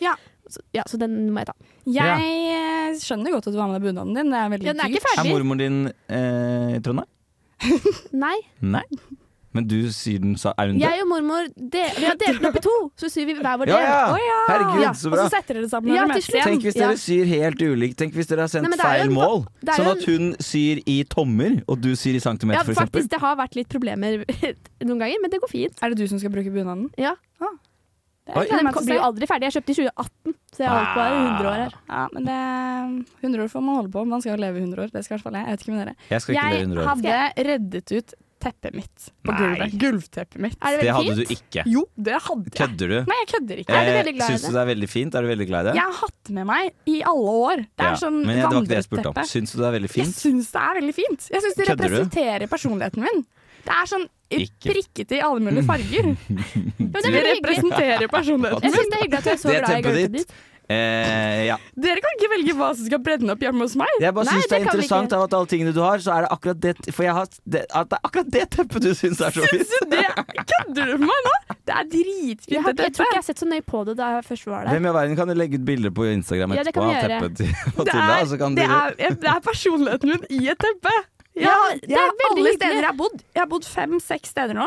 [SPEAKER 3] Ja.
[SPEAKER 2] Så, ja, så den må jeg ta.
[SPEAKER 6] Ja.
[SPEAKER 3] Jeg eh, skjønner godt at du har med deg bunaden din. Det er veldig
[SPEAKER 2] Ja, den er ikke
[SPEAKER 3] dyrt.
[SPEAKER 6] Er
[SPEAKER 2] ferdig.
[SPEAKER 6] mormoren din eh, i Trondheim?
[SPEAKER 2] Nei.
[SPEAKER 6] Nei. Men du sier den sa Er hun død?
[SPEAKER 2] Jeg og mormor de, vi har delt den opp i to, så syr vi hver vår
[SPEAKER 6] Ja,
[SPEAKER 2] del.
[SPEAKER 6] ja.
[SPEAKER 3] Å ja.
[SPEAKER 6] Herregud,
[SPEAKER 3] Ja,
[SPEAKER 6] så
[SPEAKER 3] Og
[SPEAKER 6] bra.
[SPEAKER 3] så setter dere det sammen.
[SPEAKER 2] Ja,
[SPEAKER 3] når
[SPEAKER 2] til
[SPEAKER 3] dere møtes
[SPEAKER 2] slutt.
[SPEAKER 3] igjen.
[SPEAKER 6] Tenk hvis dere
[SPEAKER 2] Ja.
[SPEAKER 6] syr helt ulikt. Tenk hvis dere har sendt
[SPEAKER 2] Nei, men det er jo
[SPEAKER 6] feil
[SPEAKER 2] en-
[SPEAKER 6] mål.
[SPEAKER 2] det er jo
[SPEAKER 6] Sånn at hun syr i tommer, og du syr i
[SPEAKER 2] Ja,
[SPEAKER 6] centimeter, for eksempel.
[SPEAKER 2] faktisk, det har vært litt problemer noen ganger, men det går fint.
[SPEAKER 3] Er det du som skal bruke bunaden?
[SPEAKER 2] Ja.
[SPEAKER 3] Ah. Det
[SPEAKER 6] Oi.
[SPEAKER 3] er
[SPEAKER 2] Den
[SPEAKER 3] den
[SPEAKER 2] blir jo aldri ferdig. Jeg kjøpte i 2018, så jeg har holdt på i 100 år her.
[SPEAKER 3] Ja, men det er 100 år får man holde på. Man skal jo leve 100 år. Det skal i hvert fall jeg. Jeg vet ikke med dere.
[SPEAKER 6] Jeg skal ikke leve
[SPEAKER 3] Jeg
[SPEAKER 6] 100 år.
[SPEAKER 3] hadde reddet ut teppet mitt på
[SPEAKER 6] Nei.
[SPEAKER 3] gulvet. Gulvteppet mitt.
[SPEAKER 2] Er det
[SPEAKER 6] Det
[SPEAKER 2] veldig
[SPEAKER 6] hadde
[SPEAKER 2] fint?
[SPEAKER 6] du ikke.
[SPEAKER 3] Jo, det hadde jeg.
[SPEAKER 6] Kødder du?
[SPEAKER 3] Nei, jeg kødder ikke.
[SPEAKER 2] Er du veldig glad i
[SPEAKER 6] Eh, Syns du det er veldig fint? Er du veldig glad i det?
[SPEAKER 3] Jeg har hatt med meg i alle år. Det er
[SPEAKER 6] Ja,
[SPEAKER 3] sånn
[SPEAKER 6] Men jeg, det var ikke det jeg spurte om.
[SPEAKER 3] vandreteppe.
[SPEAKER 6] Syns du det er veldig
[SPEAKER 3] Jeg
[SPEAKER 6] fint?
[SPEAKER 3] syns det er veldig fint. Jeg syns det
[SPEAKER 6] Kødder du?
[SPEAKER 3] representerer personligheten min. Det er sånn
[SPEAKER 6] Ikke-
[SPEAKER 3] prikkete i alle mulige farger.
[SPEAKER 2] Men det er
[SPEAKER 3] Det
[SPEAKER 2] veldig hyggelig.
[SPEAKER 3] representerer personligheten.
[SPEAKER 2] Jeg syns det er hyggelig at du er så
[SPEAKER 6] Det er
[SPEAKER 2] glad i
[SPEAKER 6] tempoet
[SPEAKER 2] gulvet
[SPEAKER 6] ditt.
[SPEAKER 2] ditt.
[SPEAKER 6] Eh, ja.
[SPEAKER 3] Dere kan ikke velge hva som skal brenne opp hjemme hos meg.
[SPEAKER 6] Jeg bare
[SPEAKER 2] Nei,
[SPEAKER 6] syns det er
[SPEAKER 2] det kan vi
[SPEAKER 6] interessant
[SPEAKER 2] ikke.
[SPEAKER 6] av at alle tingene du har, så er det akkurat det For jeg har det, at det er akkurat det teppet du syns er så fint.
[SPEAKER 3] Så det Kødder du med meg nå? Det er dritfint.
[SPEAKER 2] Jeg, har,
[SPEAKER 3] dette.
[SPEAKER 2] jeg tror ikke jeg har sett så nøye på det da jeg først var der.
[SPEAKER 6] Hvem i all verden kan du legge ut bilder på Instagram
[SPEAKER 2] Ja, det
[SPEAKER 6] etterpå
[SPEAKER 2] kan vi
[SPEAKER 6] av
[SPEAKER 2] gjøre.
[SPEAKER 6] teppet til
[SPEAKER 3] det,
[SPEAKER 6] Matilda? og så
[SPEAKER 3] er,
[SPEAKER 6] kan
[SPEAKER 3] det,
[SPEAKER 6] dere-
[SPEAKER 3] er, jeg- det er personligheten min i et teppe. Jeg,
[SPEAKER 2] Ja,
[SPEAKER 3] har-
[SPEAKER 2] det
[SPEAKER 3] jeg,
[SPEAKER 2] er
[SPEAKER 3] har
[SPEAKER 2] veldig
[SPEAKER 3] alle
[SPEAKER 2] hyggelig.
[SPEAKER 3] steder jeg har bodd. Jeg har bodd fem-seks steder nå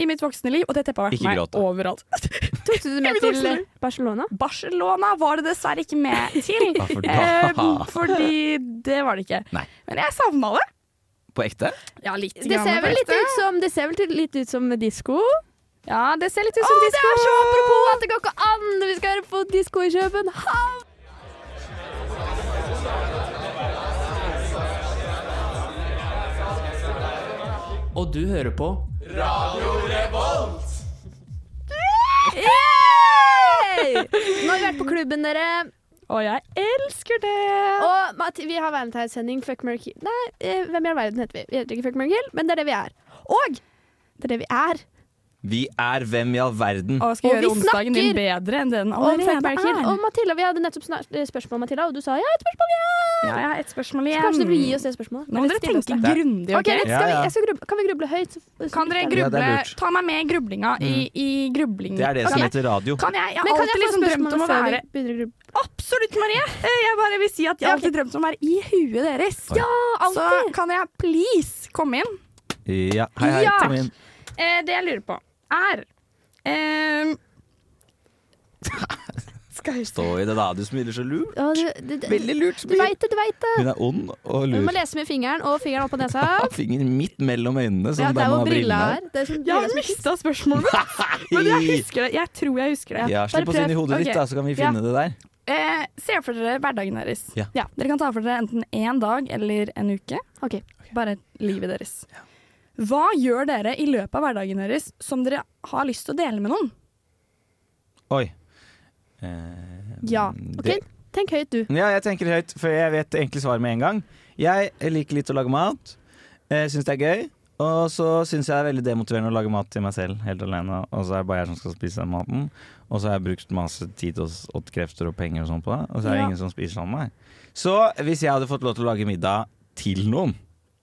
[SPEAKER 3] i mitt voksne liv, og det teppet har vært
[SPEAKER 6] Ikke
[SPEAKER 3] med meg
[SPEAKER 6] gråt, da.
[SPEAKER 3] overalt.
[SPEAKER 2] Tok du det med
[SPEAKER 3] Jeg vil også
[SPEAKER 2] til Barcelona?
[SPEAKER 3] Barcelona var det dessverre ikke med til,
[SPEAKER 6] Ja, for da-
[SPEAKER 3] eh, fordi det var det ikke.
[SPEAKER 6] Nei.
[SPEAKER 3] Men jeg savna det.
[SPEAKER 6] På ekte?
[SPEAKER 3] Ja, litt
[SPEAKER 2] Det
[SPEAKER 3] grann,
[SPEAKER 2] ser vel litt
[SPEAKER 3] faktisk.
[SPEAKER 2] ut som, det ser vel litt ut som disko.
[SPEAKER 3] Ja, det ser litt ut
[SPEAKER 2] Å,
[SPEAKER 3] som
[SPEAKER 2] det
[SPEAKER 3] disko.
[SPEAKER 2] er så apropos at det går ikke an! Vi skal høre på disko i København!
[SPEAKER 1] Og du hører på
[SPEAKER 2] Yay! Nå har vi vært på klubben, dere.
[SPEAKER 3] Og jeg elsker det.
[SPEAKER 2] Og Mati- vi har valentinssending Fuck Mary Kill. Nei, eh, hvem i all verden heter vi? Vi heter ikke Fuck Mary Kill, men det er det vi er. Og det er det vi er.
[SPEAKER 6] Vi er hvem i all verden.
[SPEAKER 3] Og skal
[SPEAKER 2] Og vi
[SPEAKER 3] gjøre onsdagen din
[SPEAKER 2] snakker
[SPEAKER 3] bedre enn det den
[SPEAKER 2] Og, Fuck, Mary,
[SPEAKER 3] allerede
[SPEAKER 2] Kill.
[SPEAKER 3] er.
[SPEAKER 2] og Matilda, vi hadde nettopp snar- eh, spørsmål, Matilda, og du sa ja, et spørsmål igjen!
[SPEAKER 3] Ja, jeg har ett spørsmål
[SPEAKER 2] Så
[SPEAKER 3] igjen.
[SPEAKER 2] kanskje du vil gi oss det spørsmålet?
[SPEAKER 3] Nå må dere tenke grundig.
[SPEAKER 2] Ok,
[SPEAKER 3] ok?
[SPEAKER 2] litt,
[SPEAKER 6] Ja,
[SPEAKER 2] skal vi,
[SPEAKER 6] ja.
[SPEAKER 2] jeg skal gruble, Kan vi gruble høyt? Så, så
[SPEAKER 3] Kan
[SPEAKER 2] lytterne-
[SPEAKER 3] dere
[SPEAKER 6] Ja, det
[SPEAKER 3] gruble?
[SPEAKER 6] er lurt.
[SPEAKER 3] Ta meg med i grublinga i, i grubling.
[SPEAKER 6] Det er det som
[SPEAKER 3] Ok.
[SPEAKER 6] heter radio.
[SPEAKER 3] Mm. Kan jeg? Jeg
[SPEAKER 2] Men
[SPEAKER 3] har
[SPEAKER 2] kan jeg få
[SPEAKER 3] alltid liksom drømt om
[SPEAKER 2] spørsmålet
[SPEAKER 3] å
[SPEAKER 2] før
[SPEAKER 3] være
[SPEAKER 2] vi begynner å gruble?
[SPEAKER 3] Absolutt, Marie! Eh, Jeg bare vil si at jeg
[SPEAKER 2] Ja,
[SPEAKER 3] har
[SPEAKER 2] ok.
[SPEAKER 3] alltid drømt om å være i huet deres.
[SPEAKER 6] Ja,
[SPEAKER 3] Så kan jeg please komme inn?
[SPEAKER 6] Ja, hei, hei,
[SPEAKER 3] Ja.
[SPEAKER 6] kom inn.
[SPEAKER 3] Eh, det jeg lurer på, er ehm, Skal jeg
[SPEAKER 6] Stå i det, da. Du smiler så lurt.
[SPEAKER 2] Å, du- du- du-
[SPEAKER 6] Veldig lurt
[SPEAKER 2] Du
[SPEAKER 6] smil.
[SPEAKER 2] veit det, du veit det.
[SPEAKER 6] Hun er ond og
[SPEAKER 2] Du må
[SPEAKER 6] lur.
[SPEAKER 2] lese med fingeren og fingeren opp på nesa.
[SPEAKER 6] Har fingeren midt mellom øynene,
[SPEAKER 2] Ja, der
[SPEAKER 6] som Sånn der man
[SPEAKER 2] hvor
[SPEAKER 6] har
[SPEAKER 2] brilla
[SPEAKER 6] brillene
[SPEAKER 2] er. Det er sånn
[SPEAKER 3] Jeg
[SPEAKER 2] brilla
[SPEAKER 3] har
[SPEAKER 2] som-
[SPEAKER 3] mista spørsmålet mitt, men jeg
[SPEAKER 6] her.
[SPEAKER 3] husker det. Jeg tror jeg husker det.
[SPEAKER 6] Ja,
[SPEAKER 2] Bare
[SPEAKER 6] slipp oss inn i
[SPEAKER 2] prøv.
[SPEAKER 6] hodet ditt,
[SPEAKER 3] Ok.
[SPEAKER 6] da, så kan vi finne det der.
[SPEAKER 3] Eh, se for dere hverdagen deres.
[SPEAKER 6] Ja.
[SPEAKER 3] Dere kan ta for dere enten én dag eller en uke.
[SPEAKER 2] Ok.
[SPEAKER 3] Bare livet deres. Hva gjør dere i løpet av hverdagen deres som dere har lyst til å dele med noen?
[SPEAKER 6] Oi. Eh,
[SPEAKER 3] Ja,
[SPEAKER 6] det-
[SPEAKER 2] Ok, Tenk høyt, du.
[SPEAKER 6] Ja, jeg tenker høyt, for jeg vet egentlig svaret med en gang. Jeg liker litt å lage mat. Jeg syns det er gøy. Og så syns jeg det er veldig demotiverende å lage mat til meg selv helt alene. Og så er det bare jeg som skal spise den maten. Og så har jeg brukt masse tid og, og krefter og penger og sånn på det. Og så er det
[SPEAKER 2] Ja.
[SPEAKER 6] ingen som spiser sammen med meg. Så hvis jeg hadde fått lov til å lage middag til noen,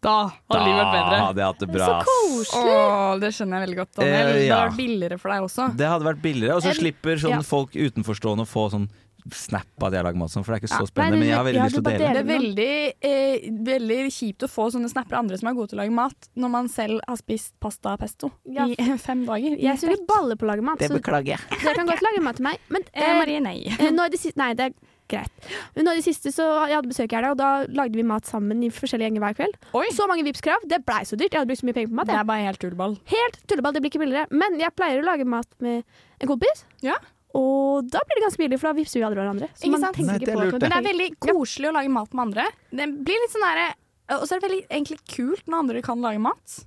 [SPEAKER 3] Da
[SPEAKER 6] da
[SPEAKER 3] har livet vært bedre.
[SPEAKER 6] hadde jeg hatt det bra.
[SPEAKER 2] Så koselig.
[SPEAKER 3] Å, det skjønner jeg veldig godt, Daniel.
[SPEAKER 6] Eh,
[SPEAKER 3] Det
[SPEAKER 6] ja.
[SPEAKER 3] har vært billigere for deg også.
[SPEAKER 6] Det hadde vært billigere. Og så
[SPEAKER 2] Ah. En-
[SPEAKER 6] slipper
[SPEAKER 2] ja.
[SPEAKER 6] sånn folk utenforstående å få sånn snap av at jeg lager mat sånn, for det er ikke
[SPEAKER 2] Ja.
[SPEAKER 6] så spennende.
[SPEAKER 2] Ah. Nei,
[SPEAKER 6] Men
[SPEAKER 2] det-
[SPEAKER 6] jeg har veldig
[SPEAKER 2] ja,
[SPEAKER 6] lyst til
[SPEAKER 2] det
[SPEAKER 6] å
[SPEAKER 2] bare
[SPEAKER 6] dele.
[SPEAKER 3] Det er veldig, eh, veldig kjipt å få sånne snapper av andre som er gode til å lage mat, når man selv har spist pasta og pesto
[SPEAKER 2] Ja.
[SPEAKER 3] i fem dager. i
[SPEAKER 2] Jeg suger
[SPEAKER 3] strekk.
[SPEAKER 2] baller på å lage mat, så
[SPEAKER 6] beklager jeg.
[SPEAKER 2] dere kan godt lage mat til meg. Men
[SPEAKER 3] eh,
[SPEAKER 2] eh,
[SPEAKER 3] Marie, nei.
[SPEAKER 2] Eh, Nå i det siste, nei, det er greit. Men Nå i det siste så jeg hadde besøk i helga, og da lagde vi mat sammen i forskjellige gjenger hver kveld.
[SPEAKER 3] Oi.
[SPEAKER 2] Så mange Vipps-krav. Det blei så dyrt. Jeg hadde brukt så mye penger på mat.
[SPEAKER 3] Det
[SPEAKER 2] Jeg.
[SPEAKER 3] er bare helt tullball.
[SPEAKER 2] Helt tulleball, det blir ikke billigere. Men jeg pleier å lage mat med en kompis.
[SPEAKER 3] Ja.
[SPEAKER 2] Og da blir det ganske billig, for da vippser vi alle hverandre. Så
[SPEAKER 3] Ikke
[SPEAKER 2] man
[SPEAKER 3] sant?
[SPEAKER 2] tenker
[SPEAKER 6] Nei, det
[SPEAKER 2] ikke
[SPEAKER 6] er
[SPEAKER 2] på at
[SPEAKER 6] lurt,
[SPEAKER 2] man
[SPEAKER 6] det.
[SPEAKER 3] Men det
[SPEAKER 2] bruker
[SPEAKER 3] er veldig koselig å lage mat med andre. Det blir litt sånn derre Og så er det veldig egentlig kult når andre kan lage mat.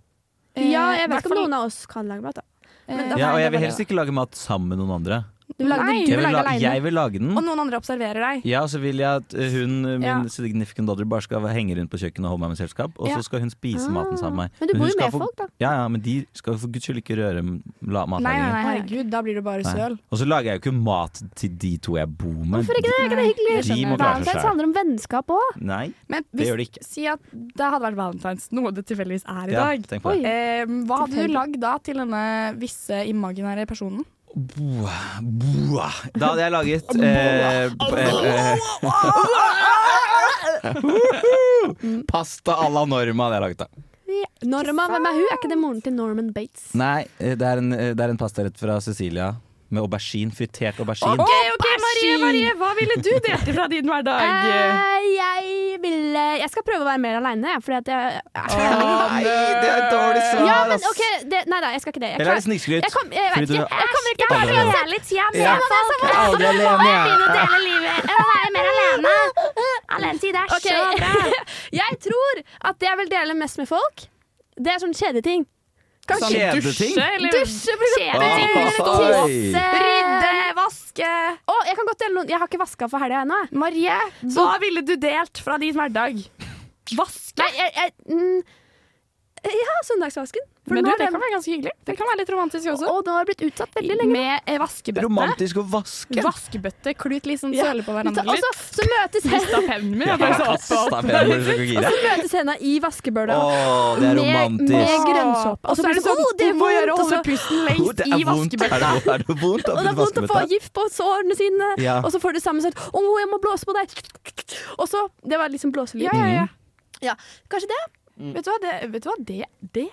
[SPEAKER 3] Eh,
[SPEAKER 2] penger. Ja, jeg vet ikke om noen av oss kan lage mat, da. men da-
[SPEAKER 6] Ja, og
[SPEAKER 2] Nei, det
[SPEAKER 6] jeg vil
[SPEAKER 2] var
[SPEAKER 6] helst ikke lage mat sammen med noen andre.
[SPEAKER 2] Du lager,
[SPEAKER 3] Nei.
[SPEAKER 2] du
[SPEAKER 6] Jeg
[SPEAKER 2] lager
[SPEAKER 6] vil, la,
[SPEAKER 2] alene.
[SPEAKER 6] jeg vil lage
[SPEAKER 3] Og
[SPEAKER 6] den.
[SPEAKER 3] noen andre observerer deg.
[SPEAKER 6] Ja, og så vil jeg at eh, hun, eh, min
[SPEAKER 3] Ja.
[SPEAKER 6] significant daughter, bare skal henge rundt på kjøkkenet og holde meg med selskap. Og
[SPEAKER 3] Ja.
[SPEAKER 6] så skal hun spise
[SPEAKER 2] Ah.
[SPEAKER 6] maten sammen med meg.
[SPEAKER 2] Men du bor
[SPEAKER 6] hun
[SPEAKER 2] jo
[SPEAKER 6] skal
[SPEAKER 2] med
[SPEAKER 6] få-
[SPEAKER 2] folk, da.
[SPEAKER 6] Ja, ja, men de skal for guds skyld ikke røre m- la-
[SPEAKER 3] Nei, nei,
[SPEAKER 6] matlagingen.
[SPEAKER 3] nei, herregud, da blir du bare
[SPEAKER 6] Nei.
[SPEAKER 3] søl.
[SPEAKER 6] Og så lager jeg jo ikke mat til de to jeg bor med.
[SPEAKER 2] Hvorfor ikke det? Er ikke det hyggelig?
[SPEAKER 3] Det skjønner jeg.
[SPEAKER 6] De må klare seg
[SPEAKER 2] Valentine's
[SPEAKER 6] selv.
[SPEAKER 2] handler om vennskap òg.
[SPEAKER 6] Nei,
[SPEAKER 3] Men
[SPEAKER 6] det
[SPEAKER 3] hvis,
[SPEAKER 6] gjør de ikke.
[SPEAKER 3] si at det hadde vært valentines, noe det tilfeldigvis er i
[SPEAKER 6] Ja,
[SPEAKER 3] dag.
[SPEAKER 6] tenk på det.
[SPEAKER 3] Eh, hva hadde
[SPEAKER 2] Tilfeldig.
[SPEAKER 3] du lagd da til denne visse imaginære personen?
[SPEAKER 6] Boa, boa. Da hadde jeg laget eh, b- eh, eh, Pasta à la Norma hadde jeg laget, da.
[SPEAKER 2] Norman, hvem er hun? Er ikke det moren til Norman Bates?
[SPEAKER 6] Nei, eh, det er en, eh, det er en pastarett fra Sicilia med aubergine, fritert aubergine.
[SPEAKER 3] OK, ok, Marie, Marie, hva ville du delt fra din hverdag?
[SPEAKER 2] Eh, jeg vil Jeg skal prøve å være mer aleine, fordi at jeg
[SPEAKER 6] Ah, nei, det er et dårlig svar,
[SPEAKER 2] Ja, men
[SPEAKER 6] ass.
[SPEAKER 2] OK, det, nei da, jeg skal ikke det. Jeg,
[SPEAKER 6] Eller er det
[SPEAKER 2] klarer-
[SPEAKER 6] snikskryt?
[SPEAKER 2] jeg, kom, jeg vet
[SPEAKER 6] Fordi du-
[SPEAKER 2] ikke. Jeg kommer ikke
[SPEAKER 6] Aldri alene.
[SPEAKER 2] litt hjem
[SPEAKER 6] Ja. Jeg er aldri alene, jeg.
[SPEAKER 2] å dele livet og være mer alene. Alenetid er så bra. jeg tror at det jeg vil dele mest med folk, det er sånn kjedeting.
[SPEAKER 6] Sånn Kjedeting?
[SPEAKER 2] Dusje, for eksempel.
[SPEAKER 6] Kjedeting.
[SPEAKER 2] Eller
[SPEAKER 6] Oi.
[SPEAKER 2] tisse.
[SPEAKER 3] Rydde, vaske
[SPEAKER 2] Å, jeg kan godt dele noen. Jeg har ikke vaska for helga ennå. jeg.
[SPEAKER 3] Marie, hva ville du delt fra din hverdag? Vaske?
[SPEAKER 2] Nei, jeg, jeg, mm, Ja, søndagsvasken. For nå
[SPEAKER 3] Men du,
[SPEAKER 2] har
[SPEAKER 3] det
[SPEAKER 2] den-
[SPEAKER 3] kan være ganske hyggelig. Det kan være litt romantisk også.
[SPEAKER 2] Og den har blitt utsatt veldig lenge.
[SPEAKER 3] Med eh, vaskebøtte.
[SPEAKER 6] Romantisk å vaske.
[SPEAKER 3] Vaskebøtte, klut litt sånn
[SPEAKER 2] Ja.
[SPEAKER 3] søle på
[SPEAKER 2] Så,
[SPEAKER 3] hverandre
[SPEAKER 2] og
[SPEAKER 3] litt.
[SPEAKER 2] så, altså, så møtes, hen-
[SPEAKER 3] Mista pennen min.
[SPEAKER 6] Ja,
[SPEAKER 3] jeg bare så opp-
[SPEAKER 6] kasta pennen så gira.
[SPEAKER 2] møtes henda i vaskebøla.
[SPEAKER 6] Å, det er
[SPEAKER 2] Med, med
[SPEAKER 6] romantisk.
[SPEAKER 2] grønnsåpe.
[SPEAKER 3] Og så er det sånn,
[SPEAKER 2] «Å, det er
[SPEAKER 3] du må gjøre
[SPEAKER 2] vondt», og så-
[SPEAKER 3] holde pusten
[SPEAKER 6] Å,
[SPEAKER 3] lengst
[SPEAKER 6] det
[SPEAKER 3] i
[SPEAKER 6] er vondt. Er
[SPEAKER 3] vaskebøtta.
[SPEAKER 6] det, er det vondt å
[SPEAKER 2] Og det er vondt å få gift på sårene sine.
[SPEAKER 6] Ja.
[SPEAKER 2] Og så får du samme sånn Å, jeg må blåse på deg. Og så Det var liksom blåselyd.
[SPEAKER 3] Ja, ja, ja.
[SPEAKER 2] Ja, Kanskje det.
[SPEAKER 3] Vet du hva, det, vet du hva? det, det,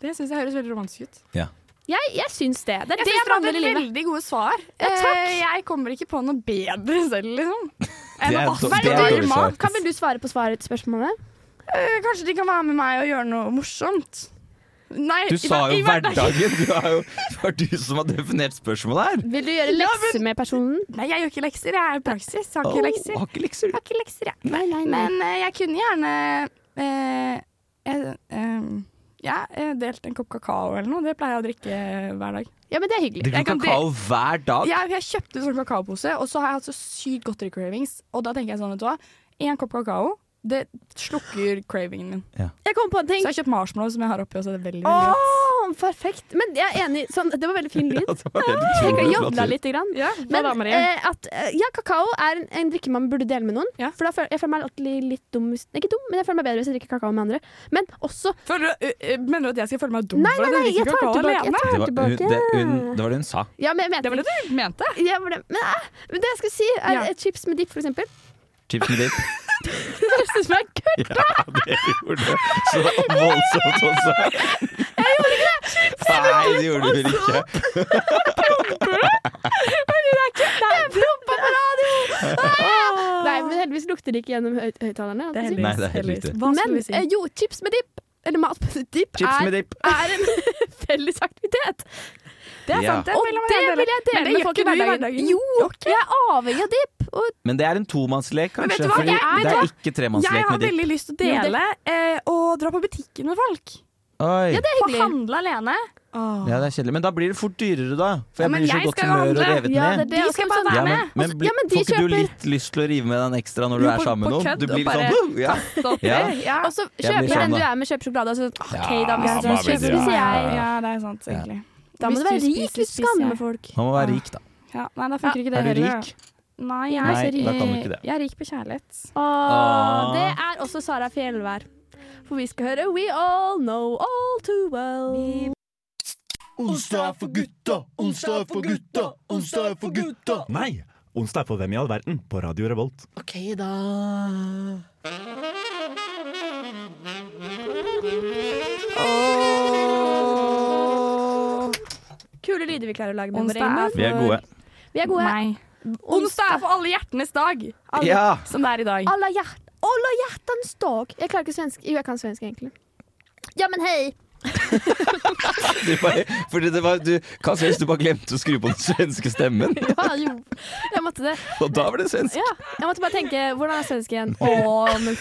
[SPEAKER 3] det syns jeg høres veldig romantisk ut.
[SPEAKER 2] Jeg, jeg syns det. Det er
[SPEAKER 3] Jeg
[SPEAKER 2] det
[SPEAKER 3] synes
[SPEAKER 2] som handler
[SPEAKER 3] dere
[SPEAKER 2] i
[SPEAKER 3] hadde
[SPEAKER 2] livet.
[SPEAKER 3] veldig gode svar.
[SPEAKER 2] Ja, takk.
[SPEAKER 3] Eh, Jeg kommer ikke på noe bedre selv, liksom. Enn
[SPEAKER 6] Det
[SPEAKER 3] å
[SPEAKER 6] er
[SPEAKER 3] vaske
[SPEAKER 6] dårlig- det er
[SPEAKER 3] dyr
[SPEAKER 6] dårlig
[SPEAKER 3] mat.
[SPEAKER 6] svar.
[SPEAKER 2] Kan vel du svare på svaret til spørsmålet?
[SPEAKER 3] Eh, Kanskje de kan være med meg og gjøre noe morsomt. Nei,
[SPEAKER 6] Du
[SPEAKER 3] i
[SPEAKER 6] sa
[SPEAKER 3] hver-
[SPEAKER 6] jo
[SPEAKER 3] i
[SPEAKER 6] hverdagen. Du er jo, det var du som har definert spørsmålet her.
[SPEAKER 2] Vil du gjøre lekser med personen?
[SPEAKER 3] Nei, jeg gjør ikke lekser. Jeg er i praksis. Jeg har
[SPEAKER 6] Å,
[SPEAKER 3] ikke lekser. Jeg
[SPEAKER 6] Har ikke lekser.
[SPEAKER 3] har ikke lekser, jeg.
[SPEAKER 2] Nei, nei,
[SPEAKER 3] Men eh, jeg kunne gjerne eh, jeg, eh, ja, jeg delte en kopp kakao eller noe. Det pleier jeg å drikke hver dag.
[SPEAKER 2] Ja, men det er hyggelig.
[SPEAKER 6] Drikker
[SPEAKER 3] Jeg
[SPEAKER 6] du
[SPEAKER 3] kan
[SPEAKER 6] kakao hver dag?
[SPEAKER 3] Jeg, jeg kjøpte sånn kakaopose, og så har jeg hatt så sykt godteri cravings. Og da tenker jeg sånn, vet du hva. Én kopp kakao, det slukker cravingen min.
[SPEAKER 2] Jeg kom på en ting.
[SPEAKER 3] Så jeg har kjøpt marshmallow som jeg har oppi, og så er det veldig, veldig godt.
[SPEAKER 2] Åh, perfekt. Men jeg er enig. Sånn, det var veldig fin lyd.
[SPEAKER 6] Ja, det var helt
[SPEAKER 2] Jeg kan
[SPEAKER 6] utrolig
[SPEAKER 2] jodla
[SPEAKER 6] flott.
[SPEAKER 2] litt. Grann.
[SPEAKER 3] Ja,
[SPEAKER 2] Men eh, at, eh, ja, kakao er en, en drikke man burde dele med noen.
[SPEAKER 3] Ja.
[SPEAKER 2] For da føler, Jeg føler meg alltid litt dum hvis, Ikke dum, men jeg føler meg bedre hvis jeg drikker kakao med andre. Men også
[SPEAKER 3] Føler du, eh, mener du at jeg skal føle meg dum
[SPEAKER 2] Nei,
[SPEAKER 3] for
[SPEAKER 2] nei,
[SPEAKER 3] at
[SPEAKER 2] nei,
[SPEAKER 3] jeg
[SPEAKER 2] jeg
[SPEAKER 3] drikker
[SPEAKER 2] tar det
[SPEAKER 3] kakao
[SPEAKER 2] tilbake. Jeg tar
[SPEAKER 3] alene?
[SPEAKER 6] Det
[SPEAKER 2] det
[SPEAKER 6] var, hun,
[SPEAKER 2] tilbake.
[SPEAKER 6] det, hun, det var det hun sa.
[SPEAKER 2] Ja, men jeg mente
[SPEAKER 3] Det var det du mente.
[SPEAKER 2] Ja, det var det. Men, eh, men det jeg skulle si, er
[SPEAKER 3] Ja.
[SPEAKER 2] eh, chips med dipp, for eksempel.
[SPEAKER 6] Chips med dip.
[SPEAKER 2] Det synes jeg er gøy.
[SPEAKER 6] Ja, det gjorde du. Så voldsomt også. Jeg gjorde ikke det! Nei, det gjorde du ikke.
[SPEAKER 2] Jeg prompa på radio! Ah! Nei, men heldigvis lukter det ikke gjennom høy høyttalerne.
[SPEAKER 3] Det
[SPEAKER 2] altså.
[SPEAKER 3] er heldigvis-
[SPEAKER 6] Nei, det er helt
[SPEAKER 3] heldigvis.
[SPEAKER 6] riktig.
[SPEAKER 3] Hva
[SPEAKER 2] Men
[SPEAKER 3] skulle vi si?
[SPEAKER 2] eh, jo, chips med dipp, eller mat med dipp,
[SPEAKER 6] Chips
[SPEAKER 2] er,
[SPEAKER 6] med dip.
[SPEAKER 2] er en felles aktivitet.
[SPEAKER 3] Det er
[SPEAKER 6] Ja.
[SPEAKER 3] sant, det
[SPEAKER 2] Og
[SPEAKER 3] vil jeg
[SPEAKER 2] det
[SPEAKER 3] gjerne
[SPEAKER 2] vil
[SPEAKER 3] dele.
[SPEAKER 2] jeg dele
[SPEAKER 3] Men det
[SPEAKER 2] med
[SPEAKER 3] gjør
[SPEAKER 2] folk i
[SPEAKER 3] ikke du i
[SPEAKER 2] hverdagen.
[SPEAKER 3] hverdagen.
[SPEAKER 2] Jo, jeg er avhengig av dipp. Og
[SPEAKER 6] Men det er en tomannslek,
[SPEAKER 3] Men vet
[SPEAKER 6] kanskje.
[SPEAKER 3] du hva?
[SPEAKER 6] Fordi
[SPEAKER 3] Jeg- vet du
[SPEAKER 6] det er
[SPEAKER 3] hva?
[SPEAKER 6] ikke
[SPEAKER 3] Jeg
[SPEAKER 6] tremannslek
[SPEAKER 3] har
[SPEAKER 6] med dip.
[SPEAKER 3] veldig lyst til å
[SPEAKER 2] Jo, det-
[SPEAKER 3] dele eh, og dra på butikken med folk.
[SPEAKER 6] Oi.
[SPEAKER 2] ja, det er
[SPEAKER 3] Få
[SPEAKER 2] hyggelig.
[SPEAKER 3] handle alene.
[SPEAKER 6] Ja, det er kjedelig. Men da blir det fort dyrere, da. For
[SPEAKER 3] Ja,
[SPEAKER 6] jeg
[SPEAKER 3] men
[SPEAKER 6] blir så
[SPEAKER 3] jeg
[SPEAKER 6] godt
[SPEAKER 3] skal jo
[SPEAKER 6] humør og
[SPEAKER 3] handle.
[SPEAKER 6] revet
[SPEAKER 2] Ja, det er
[SPEAKER 6] med.
[SPEAKER 2] det.
[SPEAKER 3] De
[SPEAKER 2] Og så
[SPEAKER 3] skal
[SPEAKER 2] må
[SPEAKER 3] bare
[SPEAKER 2] du
[SPEAKER 3] være
[SPEAKER 6] Ja,
[SPEAKER 2] sånn-
[SPEAKER 3] med.
[SPEAKER 6] men, men,
[SPEAKER 2] Altså,
[SPEAKER 6] blir-
[SPEAKER 2] ja, men de
[SPEAKER 6] får ikke du
[SPEAKER 2] kjøper-
[SPEAKER 6] litt lyst til å rive med den ekstra når du
[SPEAKER 3] Jo,
[SPEAKER 6] er
[SPEAKER 3] på-
[SPEAKER 6] sammen med
[SPEAKER 3] på
[SPEAKER 6] noen?
[SPEAKER 3] kødd
[SPEAKER 6] Du
[SPEAKER 3] og
[SPEAKER 6] blir litt sånn «Woo!» ja. Ja.
[SPEAKER 3] Ja.
[SPEAKER 2] Og så
[SPEAKER 6] Jeg blir
[SPEAKER 2] kjøper
[SPEAKER 6] sånn,
[SPEAKER 2] den
[SPEAKER 6] da.
[SPEAKER 2] du er med, kjøper sjokolade. Og så, ok, da, hvis
[SPEAKER 3] Ja,
[SPEAKER 2] du
[SPEAKER 3] da blir
[SPEAKER 2] kjøper,
[SPEAKER 3] det-
[SPEAKER 2] spiser jeg.
[SPEAKER 6] ja.
[SPEAKER 3] Ja, det er sant, egentlig.
[SPEAKER 2] Da må
[SPEAKER 3] Hvis
[SPEAKER 2] du være
[SPEAKER 3] du
[SPEAKER 2] rik
[SPEAKER 3] spiser,
[SPEAKER 2] hvis du skal
[SPEAKER 3] spiser jeg.
[SPEAKER 2] med folk.
[SPEAKER 6] Man må være rik, da.
[SPEAKER 3] Ja, nei, da funker ikke det.
[SPEAKER 6] Er du
[SPEAKER 3] heller.
[SPEAKER 6] rik?
[SPEAKER 3] Nei, jeg er,
[SPEAKER 6] Nei,
[SPEAKER 3] så rik.
[SPEAKER 6] da kan du ikke det.
[SPEAKER 3] jeg er rik på kjærlighet.
[SPEAKER 2] Åh,
[SPEAKER 6] Åh.
[SPEAKER 2] det er også Sara Fjellvær. For vi skal høre We All Know All Too Well.
[SPEAKER 9] Onsdag er for gutta, onsdag er for gutta, onsdag er for gutta. Nei, onsdag er for hvem i all verden på Radio Revolt.
[SPEAKER 1] Ok, da.
[SPEAKER 2] Kule lyder vi klarer å lage med våre egne.
[SPEAKER 3] Onsdag er
[SPEAKER 6] Vi er gode.
[SPEAKER 2] Vi er gode.
[SPEAKER 3] Nei. Onsdag er for alle hjertenes dag, alle,
[SPEAKER 6] Ja!
[SPEAKER 3] som det er i dag.
[SPEAKER 2] Alla, hjärt alla hjärtans dag. Jeg klarer ikke svensk. Jo, jeg kan svensk egentlig. Ja, men hei.
[SPEAKER 6] Du bare, fordi det var, du, hva synes du bare glemte å skru på den svenske stemmen?
[SPEAKER 2] Ja, jo. Jeg måtte det.
[SPEAKER 6] Og da var det svensk.
[SPEAKER 2] Ja, jeg måtte bare tenke hvordan er svensk igjen? Åh, men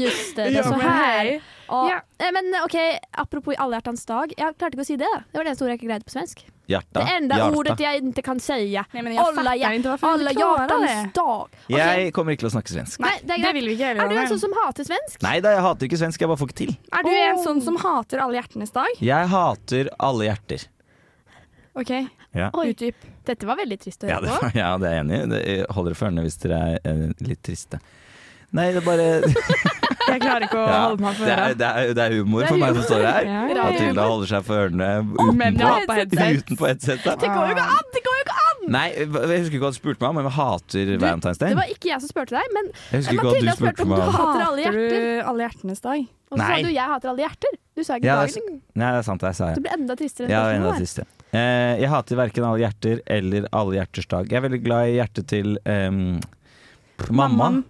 [SPEAKER 2] just det. Det er så her. Åh.
[SPEAKER 3] Ja.
[SPEAKER 2] Eh, Men ok, apropos allerhjertans dag. Jeg klarte ikke å si det. Det var det eneste ordet jeg ikke greide på svensk.
[SPEAKER 6] Hjarta.
[SPEAKER 2] Det enda ordet jeg ikke kan si.
[SPEAKER 3] Nei, men jeg
[SPEAKER 2] Alla,
[SPEAKER 3] fatter
[SPEAKER 2] hjer-
[SPEAKER 3] ikke hvorfor
[SPEAKER 2] alla
[SPEAKER 3] vi klarer
[SPEAKER 2] hjärtans
[SPEAKER 3] det.
[SPEAKER 2] dag. Ok,
[SPEAKER 6] Jeg kommer ikke til å snakke svensk.
[SPEAKER 2] Nei, det er
[SPEAKER 3] Det
[SPEAKER 2] greit.
[SPEAKER 3] vil vi ikke heller.
[SPEAKER 2] Er du en
[SPEAKER 3] Daniel.
[SPEAKER 2] sånn som hater svensk?
[SPEAKER 6] Nei da, jeg hater ikke svensk, jeg bare får ikke til.
[SPEAKER 3] Er du en sånn som hater alle hjertenes dag?
[SPEAKER 6] Jeg hater alle hjerter.
[SPEAKER 3] OK,
[SPEAKER 2] Oi,
[SPEAKER 3] utdyp.
[SPEAKER 2] dette var veldig trist å
[SPEAKER 6] Ja,
[SPEAKER 2] høre
[SPEAKER 6] det,
[SPEAKER 2] på.
[SPEAKER 6] ja, det er jeg enig i. Det- jeg Holder dere for ørene hvis dere er eh, litt triste. Nei, det er bare
[SPEAKER 3] Jeg klarer ikke å
[SPEAKER 6] ja,
[SPEAKER 3] holde meg for
[SPEAKER 6] det, er,
[SPEAKER 3] øret.
[SPEAKER 6] det, er, det er humor for meg som står her.
[SPEAKER 3] Ja, ja, ja.
[SPEAKER 6] Matilda holder seg for ørene
[SPEAKER 3] Men jeg
[SPEAKER 6] utenpå,
[SPEAKER 3] har på headset.
[SPEAKER 6] utenpå headsetet.
[SPEAKER 2] Det går jo ikke an! Det går jo ikke an!
[SPEAKER 6] Nei, jeg husker ikke hva du spurte meg om, men jeg hater Valentine's Day.
[SPEAKER 2] Det var ikke jeg som spurte deg, men
[SPEAKER 6] Jeg husker ikke hva
[SPEAKER 2] Mathilde
[SPEAKER 6] du
[SPEAKER 2] spurte om
[SPEAKER 6] spurte
[SPEAKER 2] du
[SPEAKER 6] meg om.
[SPEAKER 2] hater alle
[SPEAKER 3] Hater
[SPEAKER 2] hjerter.
[SPEAKER 3] du alle hjertenes dag?
[SPEAKER 2] Og så sa
[SPEAKER 6] Nei.
[SPEAKER 2] du 'jeg hater alle hjerter'. Du sa ikke
[SPEAKER 6] Ja, det er
[SPEAKER 2] dagen.
[SPEAKER 6] Nei, det er sant, det sa
[SPEAKER 2] Det
[SPEAKER 6] jeg.
[SPEAKER 2] blir enda tristere. enn
[SPEAKER 6] Ja,
[SPEAKER 2] spørsmålet
[SPEAKER 6] en av
[SPEAKER 2] var.
[SPEAKER 6] de siste. Eh, jeg hater verken alle hjerter eller alle hjerters dag. Jeg er veldig glad i hjertet til ehm, mamma.
[SPEAKER 3] Mammaen.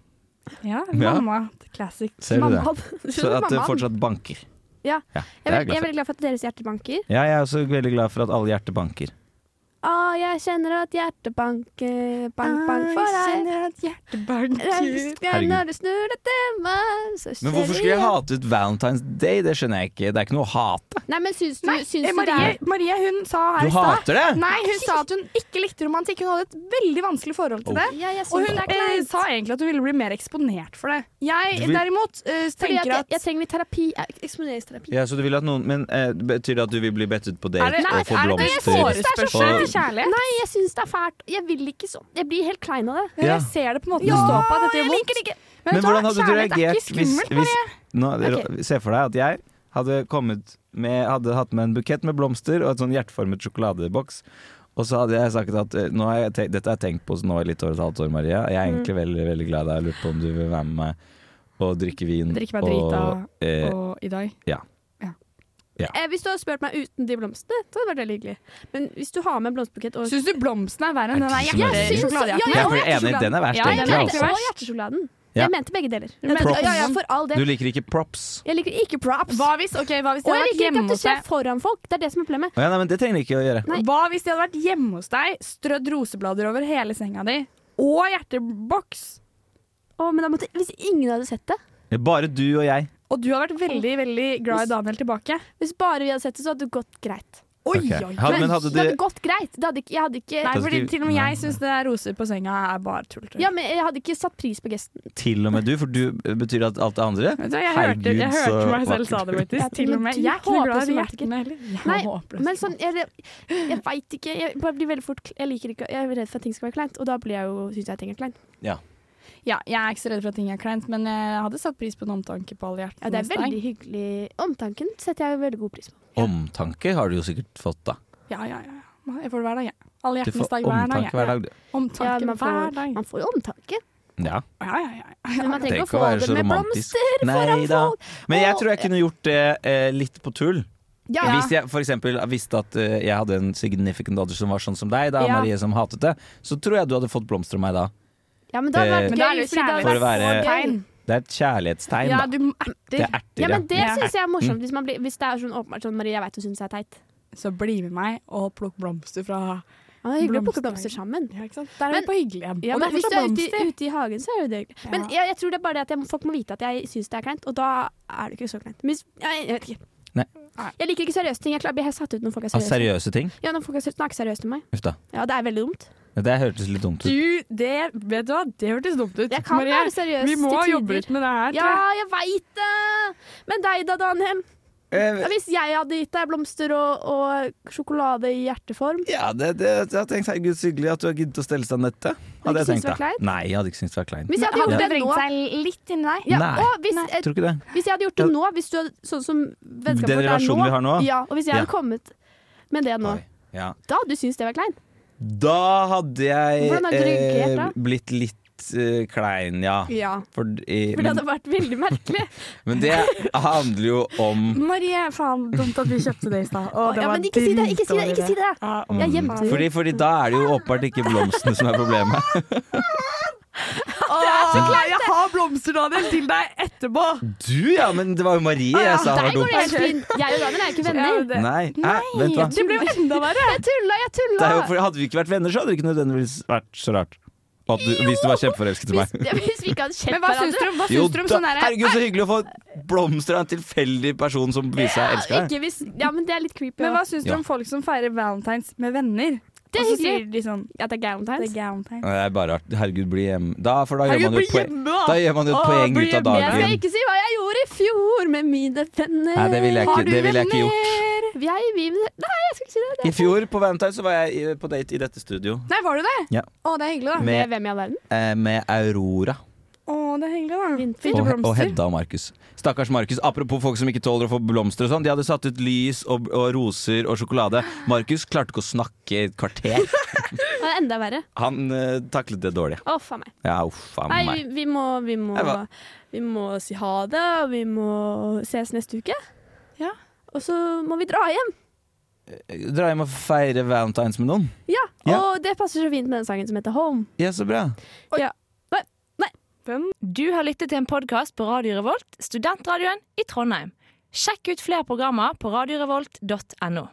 [SPEAKER 3] Ja,
[SPEAKER 6] Ja.
[SPEAKER 3] mamma. Classic.
[SPEAKER 6] Ser du det?
[SPEAKER 2] Mamma.
[SPEAKER 6] Så at det
[SPEAKER 2] Mammaen.
[SPEAKER 6] fortsatt banker.
[SPEAKER 2] Ja.
[SPEAKER 6] ja det
[SPEAKER 2] jeg,
[SPEAKER 6] er
[SPEAKER 2] er jeg
[SPEAKER 6] jeg glad
[SPEAKER 2] er
[SPEAKER 6] for.
[SPEAKER 2] veldig glad for at deres hjerter banker.
[SPEAKER 6] Ja, jeg er også veldig glad for at alle hjerter banker.
[SPEAKER 2] Å, jeg kjenner at hjertet banker, bank, bank for deg.
[SPEAKER 3] at hjertet banker.
[SPEAKER 2] Elsker Når du snur deg til meg, så
[SPEAKER 6] Men hvorfor skulle
[SPEAKER 2] jeg
[SPEAKER 6] jeg hate ut Valentine's Day? Det skjønner jeg ikke. Det er ikke noe å hate.
[SPEAKER 2] Nei, men syns du,
[SPEAKER 3] Nei,
[SPEAKER 2] syns du det
[SPEAKER 3] Marie,
[SPEAKER 2] er
[SPEAKER 3] Marie hun sa her i
[SPEAKER 6] Du
[SPEAKER 3] stad
[SPEAKER 6] hater det!
[SPEAKER 3] Nei, hun sa at hun ikke likte romantikk. Hun hadde et veldig vanskelig forhold
[SPEAKER 6] Oh.
[SPEAKER 3] til det.
[SPEAKER 2] Ja, jeg syns
[SPEAKER 3] Og hun
[SPEAKER 2] det er
[SPEAKER 3] eh,
[SPEAKER 2] kleint.
[SPEAKER 3] sa egentlig at hun ville bli mer eksponert for det. Jeg
[SPEAKER 6] Du vil-
[SPEAKER 3] derimot eh,
[SPEAKER 2] Fordi at
[SPEAKER 3] tenker
[SPEAKER 2] jeg,
[SPEAKER 3] at
[SPEAKER 2] jeg trenger litt terapi. eh, Eksponeringsterapi.
[SPEAKER 6] Ja, så du vil at noen Men eh, betyr det at du vil bli bedt ut på date
[SPEAKER 3] Er det-
[SPEAKER 6] og få
[SPEAKER 3] er det- jeg synes det
[SPEAKER 6] blomster?
[SPEAKER 3] er så
[SPEAKER 6] og-
[SPEAKER 3] skjønt kjærlighet.
[SPEAKER 2] Nei, jeg syns det er fælt. Jeg vil ikke sånn. Jeg blir helt klein av det.
[SPEAKER 6] Ja.
[SPEAKER 3] Jeg ser det på en måte
[SPEAKER 2] Ja,
[SPEAKER 3] du står på at dette gjør
[SPEAKER 2] jeg
[SPEAKER 3] vondt.
[SPEAKER 2] liker det ikke.
[SPEAKER 3] Men,
[SPEAKER 6] Men
[SPEAKER 3] vet du hva?
[SPEAKER 6] hvordan hadde du
[SPEAKER 3] Kjærlighet er
[SPEAKER 6] reagert
[SPEAKER 3] ikke
[SPEAKER 6] hvis,
[SPEAKER 3] skummelt,
[SPEAKER 6] hvis nå,
[SPEAKER 2] Ok.
[SPEAKER 6] Se for deg at jeg hadde, kommet med, hadde hatt med en bukett med blomster og et sånn hjerteformet sjokoladeboks. Og så hadde jeg sagt at eh, nå har jeg tenkt, dette har jeg tenkt på nå i litt over et halvt år, Maria. Jeg er
[SPEAKER 3] Mm.
[SPEAKER 6] egentlig veldig veldig glad i deg. Jeg Lurer på om du vil være med meg og drikke vin.
[SPEAKER 3] Drikke meg drita
[SPEAKER 6] og, eh,
[SPEAKER 3] og i dag.
[SPEAKER 2] Eh, hvis du hadde spurt meg uten de blomstene, så hadde det vært veldig hyggelig. Men hvis du har med en blomsterbukett og
[SPEAKER 3] Syns du blomsten er verre enn den
[SPEAKER 6] Er det
[SPEAKER 3] der
[SPEAKER 6] som er
[SPEAKER 3] hjerte-
[SPEAKER 6] verre?
[SPEAKER 3] sjokoladehjerten?
[SPEAKER 2] Ja,
[SPEAKER 6] jeg
[SPEAKER 2] og
[SPEAKER 6] er enig,
[SPEAKER 2] hjertesjokoladen.
[SPEAKER 6] den er verst,
[SPEAKER 3] Ja,
[SPEAKER 2] Jeg
[SPEAKER 6] egentlig.
[SPEAKER 3] den er
[SPEAKER 2] mente
[SPEAKER 6] Altså.
[SPEAKER 3] verst.
[SPEAKER 2] også hjertesjokoladen.
[SPEAKER 6] Ja.
[SPEAKER 2] Jeg mente begge deler.
[SPEAKER 3] Du mente-
[SPEAKER 6] Props.
[SPEAKER 2] Ja, ja, for all
[SPEAKER 6] Du
[SPEAKER 2] del.
[SPEAKER 6] liker ikke props.
[SPEAKER 2] Jeg liker ikke props.
[SPEAKER 3] Hva hvis, ok, hva hvis de
[SPEAKER 2] Og jeg
[SPEAKER 3] hadde vært
[SPEAKER 2] liker ikke
[SPEAKER 3] hjemme
[SPEAKER 2] at det
[SPEAKER 3] hos
[SPEAKER 2] skjer
[SPEAKER 3] deg?
[SPEAKER 2] foran folk. Det er det som er problemet.
[SPEAKER 6] Å ja, nei, men det trenger de ikke å gjøre.
[SPEAKER 2] Nei.
[SPEAKER 3] Hva hvis de hadde vært hjemme hos deg, strødd roseblader over hele senga di, og hjerteboks,
[SPEAKER 2] Å, men da måtte, hvis ingen hadde sett det
[SPEAKER 6] Bare du og jeg.
[SPEAKER 3] og du hadde vært veldig veldig glad i Daniel tilbake?
[SPEAKER 2] Hvis bare vi hadde sett det, så hadde det gått greit.
[SPEAKER 3] Oi,
[SPEAKER 6] Ok.
[SPEAKER 3] oi,
[SPEAKER 6] Hadde-
[SPEAKER 3] oi.
[SPEAKER 6] men
[SPEAKER 2] det
[SPEAKER 6] hadde
[SPEAKER 2] hadde
[SPEAKER 6] de-
[SPEAKER 2] gått greit. Det hadde ikke, jeg hadde ikke
[SPEAKER 3] Nei,
[SPEAKER 6] Altså,
[SPEAKER 3] fordi
[SPEAKER 6] de-
[SPEAKER 3] til og med
[SPEAKER 6] nei.
[SPEAKER 3] jeg syns det der roser på senga er bare tull. tull.
[SPEAKER 2] Ja, men jeg hadde ikke satt pris på gesten.
[SPEAKER 6] Til og med du, for du betyr at alt det andre
[SPEAKER 3] Vet du hva, jeg
[SPEAKER 6] Herregud,
[SPEAKER 3] hørte, jeg hørte
[SPEAKER 6] så
[SPEAKER 3] meg selv sa det,
[SPEAKER 6] vakkert.
[SPEAKER 3] faktisk.
[SPEAKER 2] Ja,
[SPEAKER 3] til og med. Jeg er ikke noe glad i hjertene heller. Jeg
[SPEAKER 2] Nei,
[SPEAKER 3] er håpløs.
[SPEAKER 2] Men sånn, jeg, jeg veit ikke. Jeg bare blir veldig fort Jeg liker ikke Jeg er redd for at ting skal være kleint, og da blir jeg jo syns jeg ting er kleint.
[SPEAKER 3] Ja, jeg er ikke så redd for at ting er kleint, men eh, jeg hadde satt pris på en omtanke på alle hjertene.
[SPEAKER 2] Ja, det er
[SPEAKER 3] hos deg.
[SPEAKER 2] veldig hyggelig. Omtanken setter jeg veldig god pris på.
[SPEAKER 6] Omtanke har du jo sikkert fått, da.
[SPEAKER 3] Ja, ja, ja. Jeg får det hver dag, jeg. Alle
[SPEAKER 6] Du
[SPEAKER 3] hjertenes
[SPEAKER 6] får
[SPEAKER 3] dag hver dag.
[SPEAKER 6] omtanke hver dag, du.
[SPEAKER 3] Ja. Omtanke
[SPEAKER 2] Ja, man får-
[SPEAKER 3] hver dag.
[SPEAKER 2] Man får jo omtanke,
[SPEAKER 6] Ja.
[SPEAKER 3] Ja, ja, ja.
[SPEAKER 2] men man trenger
[SPEAKER 6] Tenk
[SPEAKER 2] ikke å få
[SPEAKER 6] å være
[SPEAKER 2] det
[SPEAKER 6] så
[SPEAKER 2] med
[SPEAKER 6] romantisk.
[SPEAKER 2] blomster foran
[SPEAKER 6] Nei da.
[SPEAKER 2] folk.
[SPEAKER 6] Men jeg
[SPEAKER 2] Og-
[SPEAKER 6] tror jeg kunne gjort det eh, litt på tull.
[SPEAKER 2] Ja,
[SPEAKER 6] Hvis jeg for eksempel visste at eh, jeg hadde en significant other som var sånn som deg, da,
[SPEAKER 3] Ja.
[SPEAKER 6] Marie som hatet det, så tror jeg du hadde fått blomster av meg da.
[SPEAKER 2] ja, men da hadde
[SPEAKER 6] Eh,
[SPEAKER 2] det vært
[SPEAKER 3] Men da er
[SPEAKER 2] gøy,
[SPEAKER 3] det jo
[SPEAKER 2] fordi da hadde
[SPEAKER 6] For å
[SPEAKER 2] vært så gøy.
[SPEAKER 6] være-
[SPEAKER 3] kjærlighetstegn.
[SPEAKER 6] Det er et kjærlighetstegn,
[SPEAKER 3] Ja,
[SPEAKER 6] da.
[SPEAKER 3] du
[SPEAKER 6] Det
[SPEAKER 3] erter.
[SPEAKER 6] er erter,
[SPEAKER 2] Ja, men det
[SPEAKER 3] Ja.
[SPEAKER 2] syns jeg er morsomt. Hvis, man blir, hvis det er sånn åpenbart sånn Marie, jeg veit du syns jeg er teit.
[SPEAKER 3] Så bli med meg og plukk blomster fra
[SPEAKER 2] Ja, det er hyggelig å plukke
[SPEAKER 3] Blomster.
[SPEAKER 2] blomster sammen.
[SPEAKER 3] Ja, ikke sant? Der er
[SPEAKER 2] Men-
[SPEAKER 3] vi på hyggelig igjen.
[SPEAKER 2] Ja,
[SPEAKER 3] og det
[SPEAKER 2] men
[SPEAKER 3] er
[SPEAKER 2] hvis du
[SPEAKER 3] fortsatt
[SPEAKER 2] er ute,
[SPEAKER 3] blomster.
[SPEAKER 2] ute i hagen, så er det jo det hyggelig.
[SPEAKER 3] Ja.
[SPEAKER 2] Men jeg, jeg tror det er bare det at jeg, folk må vite at jeg syns det er kleint, og da er det ikke så kleint. Men hvis, jeg, jeg vet ikke.
[SPEAKER 6] Nei. Ah,
[SPEAKER 2] Jeg liker ikke seriøse ting. Jeg klarer- blir helt satt ut når folk er
[SPEAKER 6] Av
[SPEAKER 2] seriøse.
[SPEAKER 6] seriøse ting.
[SPEAKER 2] Ja, når folk er seriøse, snakker seriøst med meg.
[SPEAKER 6] Uff da.
[SPEAKER 2] Ja, det er veldig dumt.
[SPEAKER 6] Det hørtes litt dumt ut.
[SPEAKER 3] Du, det, vet du hva, det hørtes dumt ut.
[SPEAKER 2] Jeg kan
[SPEAKER 3] Marie.
[SPEAKER 2] være seriøs
[SPEAKER 3] Vi må
[SPEAKER 2] til tider.
[SPEAKER 3] jobbe litt med det her.
[SPEAKER 2] Ja, jeg veit det! Men deg da, Daniel?
[SPEAKER 6] Eh,
[SPEAKER 2] Ja, hvis jeg hadde gitt deg blomster og, og sjokolade i hjerteform
[SPEAKER 6] Ja, det, det, jeg har tenkt, herregud, så hyggelig at du har giddet å stelle seg nettet.
[SPEAKER 2] Hadde ikke
[SPEAKER 6] Hadde jeg
[SPEAKER 2] syntes det
[SPEAKER 6] tenkt
[SPEAKER 2] var
[SPEAKER 6] da.
[SPEAKER 2] kleint?
[SPEAKER 6] Nei, jeg hadde ikke syntes det var kleint.
[SPEAKER 2] Hvis jeg hadde gjort
[SPEAKER 3] Men hadde
[SPEAKER 2] det nå
[SPEAKER 3] vrengt seg litt inni deg.
[SPEAKER 2] ja,
[SPEAKER 6] Nei.
[SPEAKER 2] og hvis, eh,
[SPEAKER 6] Tror ikke det.
[SPEAKER 2] Hvis jeg hadde gjort det nå, hvis du hadde, sånn som vennskapet vårt
[SPEAKER 6] Den
[SPEAKER 2] er
[SPEAKER 6] relasjonen vi har nå?
[SPEAKER 2] Ja, og hvis jeg hadde kommet med det nå,
[SPEAKER 6] Oi. Ja.
[SPEAKER 2] da hadde du syntes det var kleint.
[SPEAKER 6] Da hadde jeg eh,
[SPEAKER 2] Hvordan hadde du reagert da?
[SPEAKER 6] blitt litt eh, klein, ja.
[SPEAKER 2] Ja,
[SPEAKER 6] For, eh,
[SPEAKER 2] for det
[SPEAKER 6] men,
[SPEAKER 2] hadde vært veldig merkelig.
[SPEAKER 6] men det handler jo om
[SPEAKER 3] Marie, faen, dumt at vi kjøpte det i stad. Å, det
[SPEAKER 2] ja,
[SPEAKER 3] var
[SPEAKER 2] men ikke si det,
[SPEAKER 3] dritt
[SPEAKER 2] ikke si det! ikke
[SPEAKER 3] dårlig
[SPEAKER 2] si det
[SPEAKER 3] Ja, og-
[SPEAKER 2] Jeg gjemte det.
[SPEAKER 6] Mm. fordi, fordi da er det jo åpenbart ikke blomstene som er problemet.
[SPEAKER 3] Åh, jeg har blomster, Daniel, til deg etterpå.
[SPEAKER 6] Du, ja, men det var jo Marie jeg sa
[SPEAKER 2] Der
[SPEAKER 6] var
[SPEAKER 2] går
[SPEAKER 6] dum.
[SPEAKER 2] det helt fint. Jeg og Daniel er jo ikke venner.
[SPEAKER 3] det.
[SPEAKER 6] Nei, hæ? vent da.
[SPEAKER 3] Det ble jo enda verre.
[SPEAKER 2] Jeg tulla, jeg
[SPEAKER 6] Det
[SPEAKER 2] tulla!
[SPEAKER 6] er jo, for hadde vi ikke vært venner, så hadde det ikke nødvendigvis vært så rart. At du, hvis du var kjempeforelsket i
[SPEAKER 2] Hvis,
[SPEAKER 6] meg.
[SPEAKER 2] ja, hvis vi ikke hadde kjent
[SPEAKER 3] Men hva syns
[SPEAKER 2] hverandre
[SPEAKER 3] du om, hva
[SPEAKER 6] Jo
[SPEAKER 3] syns du om
[SPEAKER 6] da,
[SPEAKER 3] sånn derre
[SPEAKER 6] herregud, så hyggelig å få blomster av en tilfeldig person som viser seg å elske deg.
[SPEAKER 2] ikke hvis, Ja, men det er litt creepy.
[SPEAKER 3] Men
[SPEAKER 2] også.
[SPEAKER 3] hva syns
[SPEAKER 6] Ja.
[SPEAKER 3] du om folk som feirer valentines med venner?
[SPEAKER 2] Det er
[SPEAKER 3] Og så
[SPEAKER 2] hyggelig.
[SPEAKER 3] sier de sånn
[SPEAKER 2] At det er
[SPEAKER 3] Det er
[SPEAKER 2] galentines?
[SPEAKER 3] galentines.
[SPEAKER 6] Nei, det er bare rart. Herregud, bli hjemme. Da, for da gjør
[SPEAKER 3] Herregud,
[SPEAKER 6] man jo
[SPEAKER 3] bli
[SPEAKER 6] et poeng,
[SPEAKER 3] hjemme, da!
[SPEAKER 6] da gjør man jo et
[SPEAKER 3] Å,
[SPEAKER 6] poeng
[SPEAKER 3] bli hjemme.
[SPEAKER 6] ut av
[SPEAKER 2] Jeg skal
[SPEAKER 6] dagen.
[SPEAKER 2] ikke si hva jeg gjorde i fjor med mine venner.
[SPEAKER 6] Nei, det ville jeg ikke, det ville jeg ikke gjort.
[SPEAKER 2] Jeg, vi, nei, jeg skal ikke si det. det.
[SPEAKER 6] I fjor på Valentine så var jeg i- på date i dette studio
[SPEAKER 3] Nei, var du det?
[SPEAKER 6] Ja.
[SPEAKER 3] Å, det er hyggelig, da.
[SPEAKER 2] Med
[SPEAKER 6] med,
[SPEAKER 2] hvem i all verden?
[SPEAKER 6] eh, med Aurora
[SPEAKER 3] Å, det er hyggelig, da.
[SPEAKER 2] Vinter.
[SPEAKER 3] Fikk du
[SPEAKER 6] og, og
[SPEAKER 3] blomster?
[SPEAKER 6] Hedda og Markus. Stakkars Markus. Apropos folk som ikke tåler å få blomster og sånn. De hadde satt ut lys og, og roser og sjokolade. Markus klarte ikke å snakke i et kvarter.
[SPEAKER 2] Det er enda verre.
[SPEAKER 6] Han eh, taklet det dårlig.
[SPEAKER 2] Å, faen meg.
[SPEAKER 6] Ja, uff a
[SPEAKER 2] Nei, vi,
[SPEAKER 6] meg.
[SPEAKER 2] vi, må, vi,
[SPEAKER 6] Nei,
[SPEAKER 2] må,
[SPEAKER 6] hva?
[SPEAKER 2] vi må si ha det, og vi må ses neste uke.
[SPEAKER 3] Ja.
[SPEAKER 2] Og så må vi dra hjem.
[SPEAKER 6] Dra hjem og feire Valentines med noen.
[SPEAKER 2] Ja.
[SPEAKER 6] Ja.
[SPEAKER 2] Og det passer så fint med den sangen som heter Home.
[SPEAKER 6] Ja, så bra.
[SPEAKER 10] Du har lyttet til en podkast på Radio Revolt, studentradioen i Trondheim. Sjekk ut flere programmer på radiorevolt.no.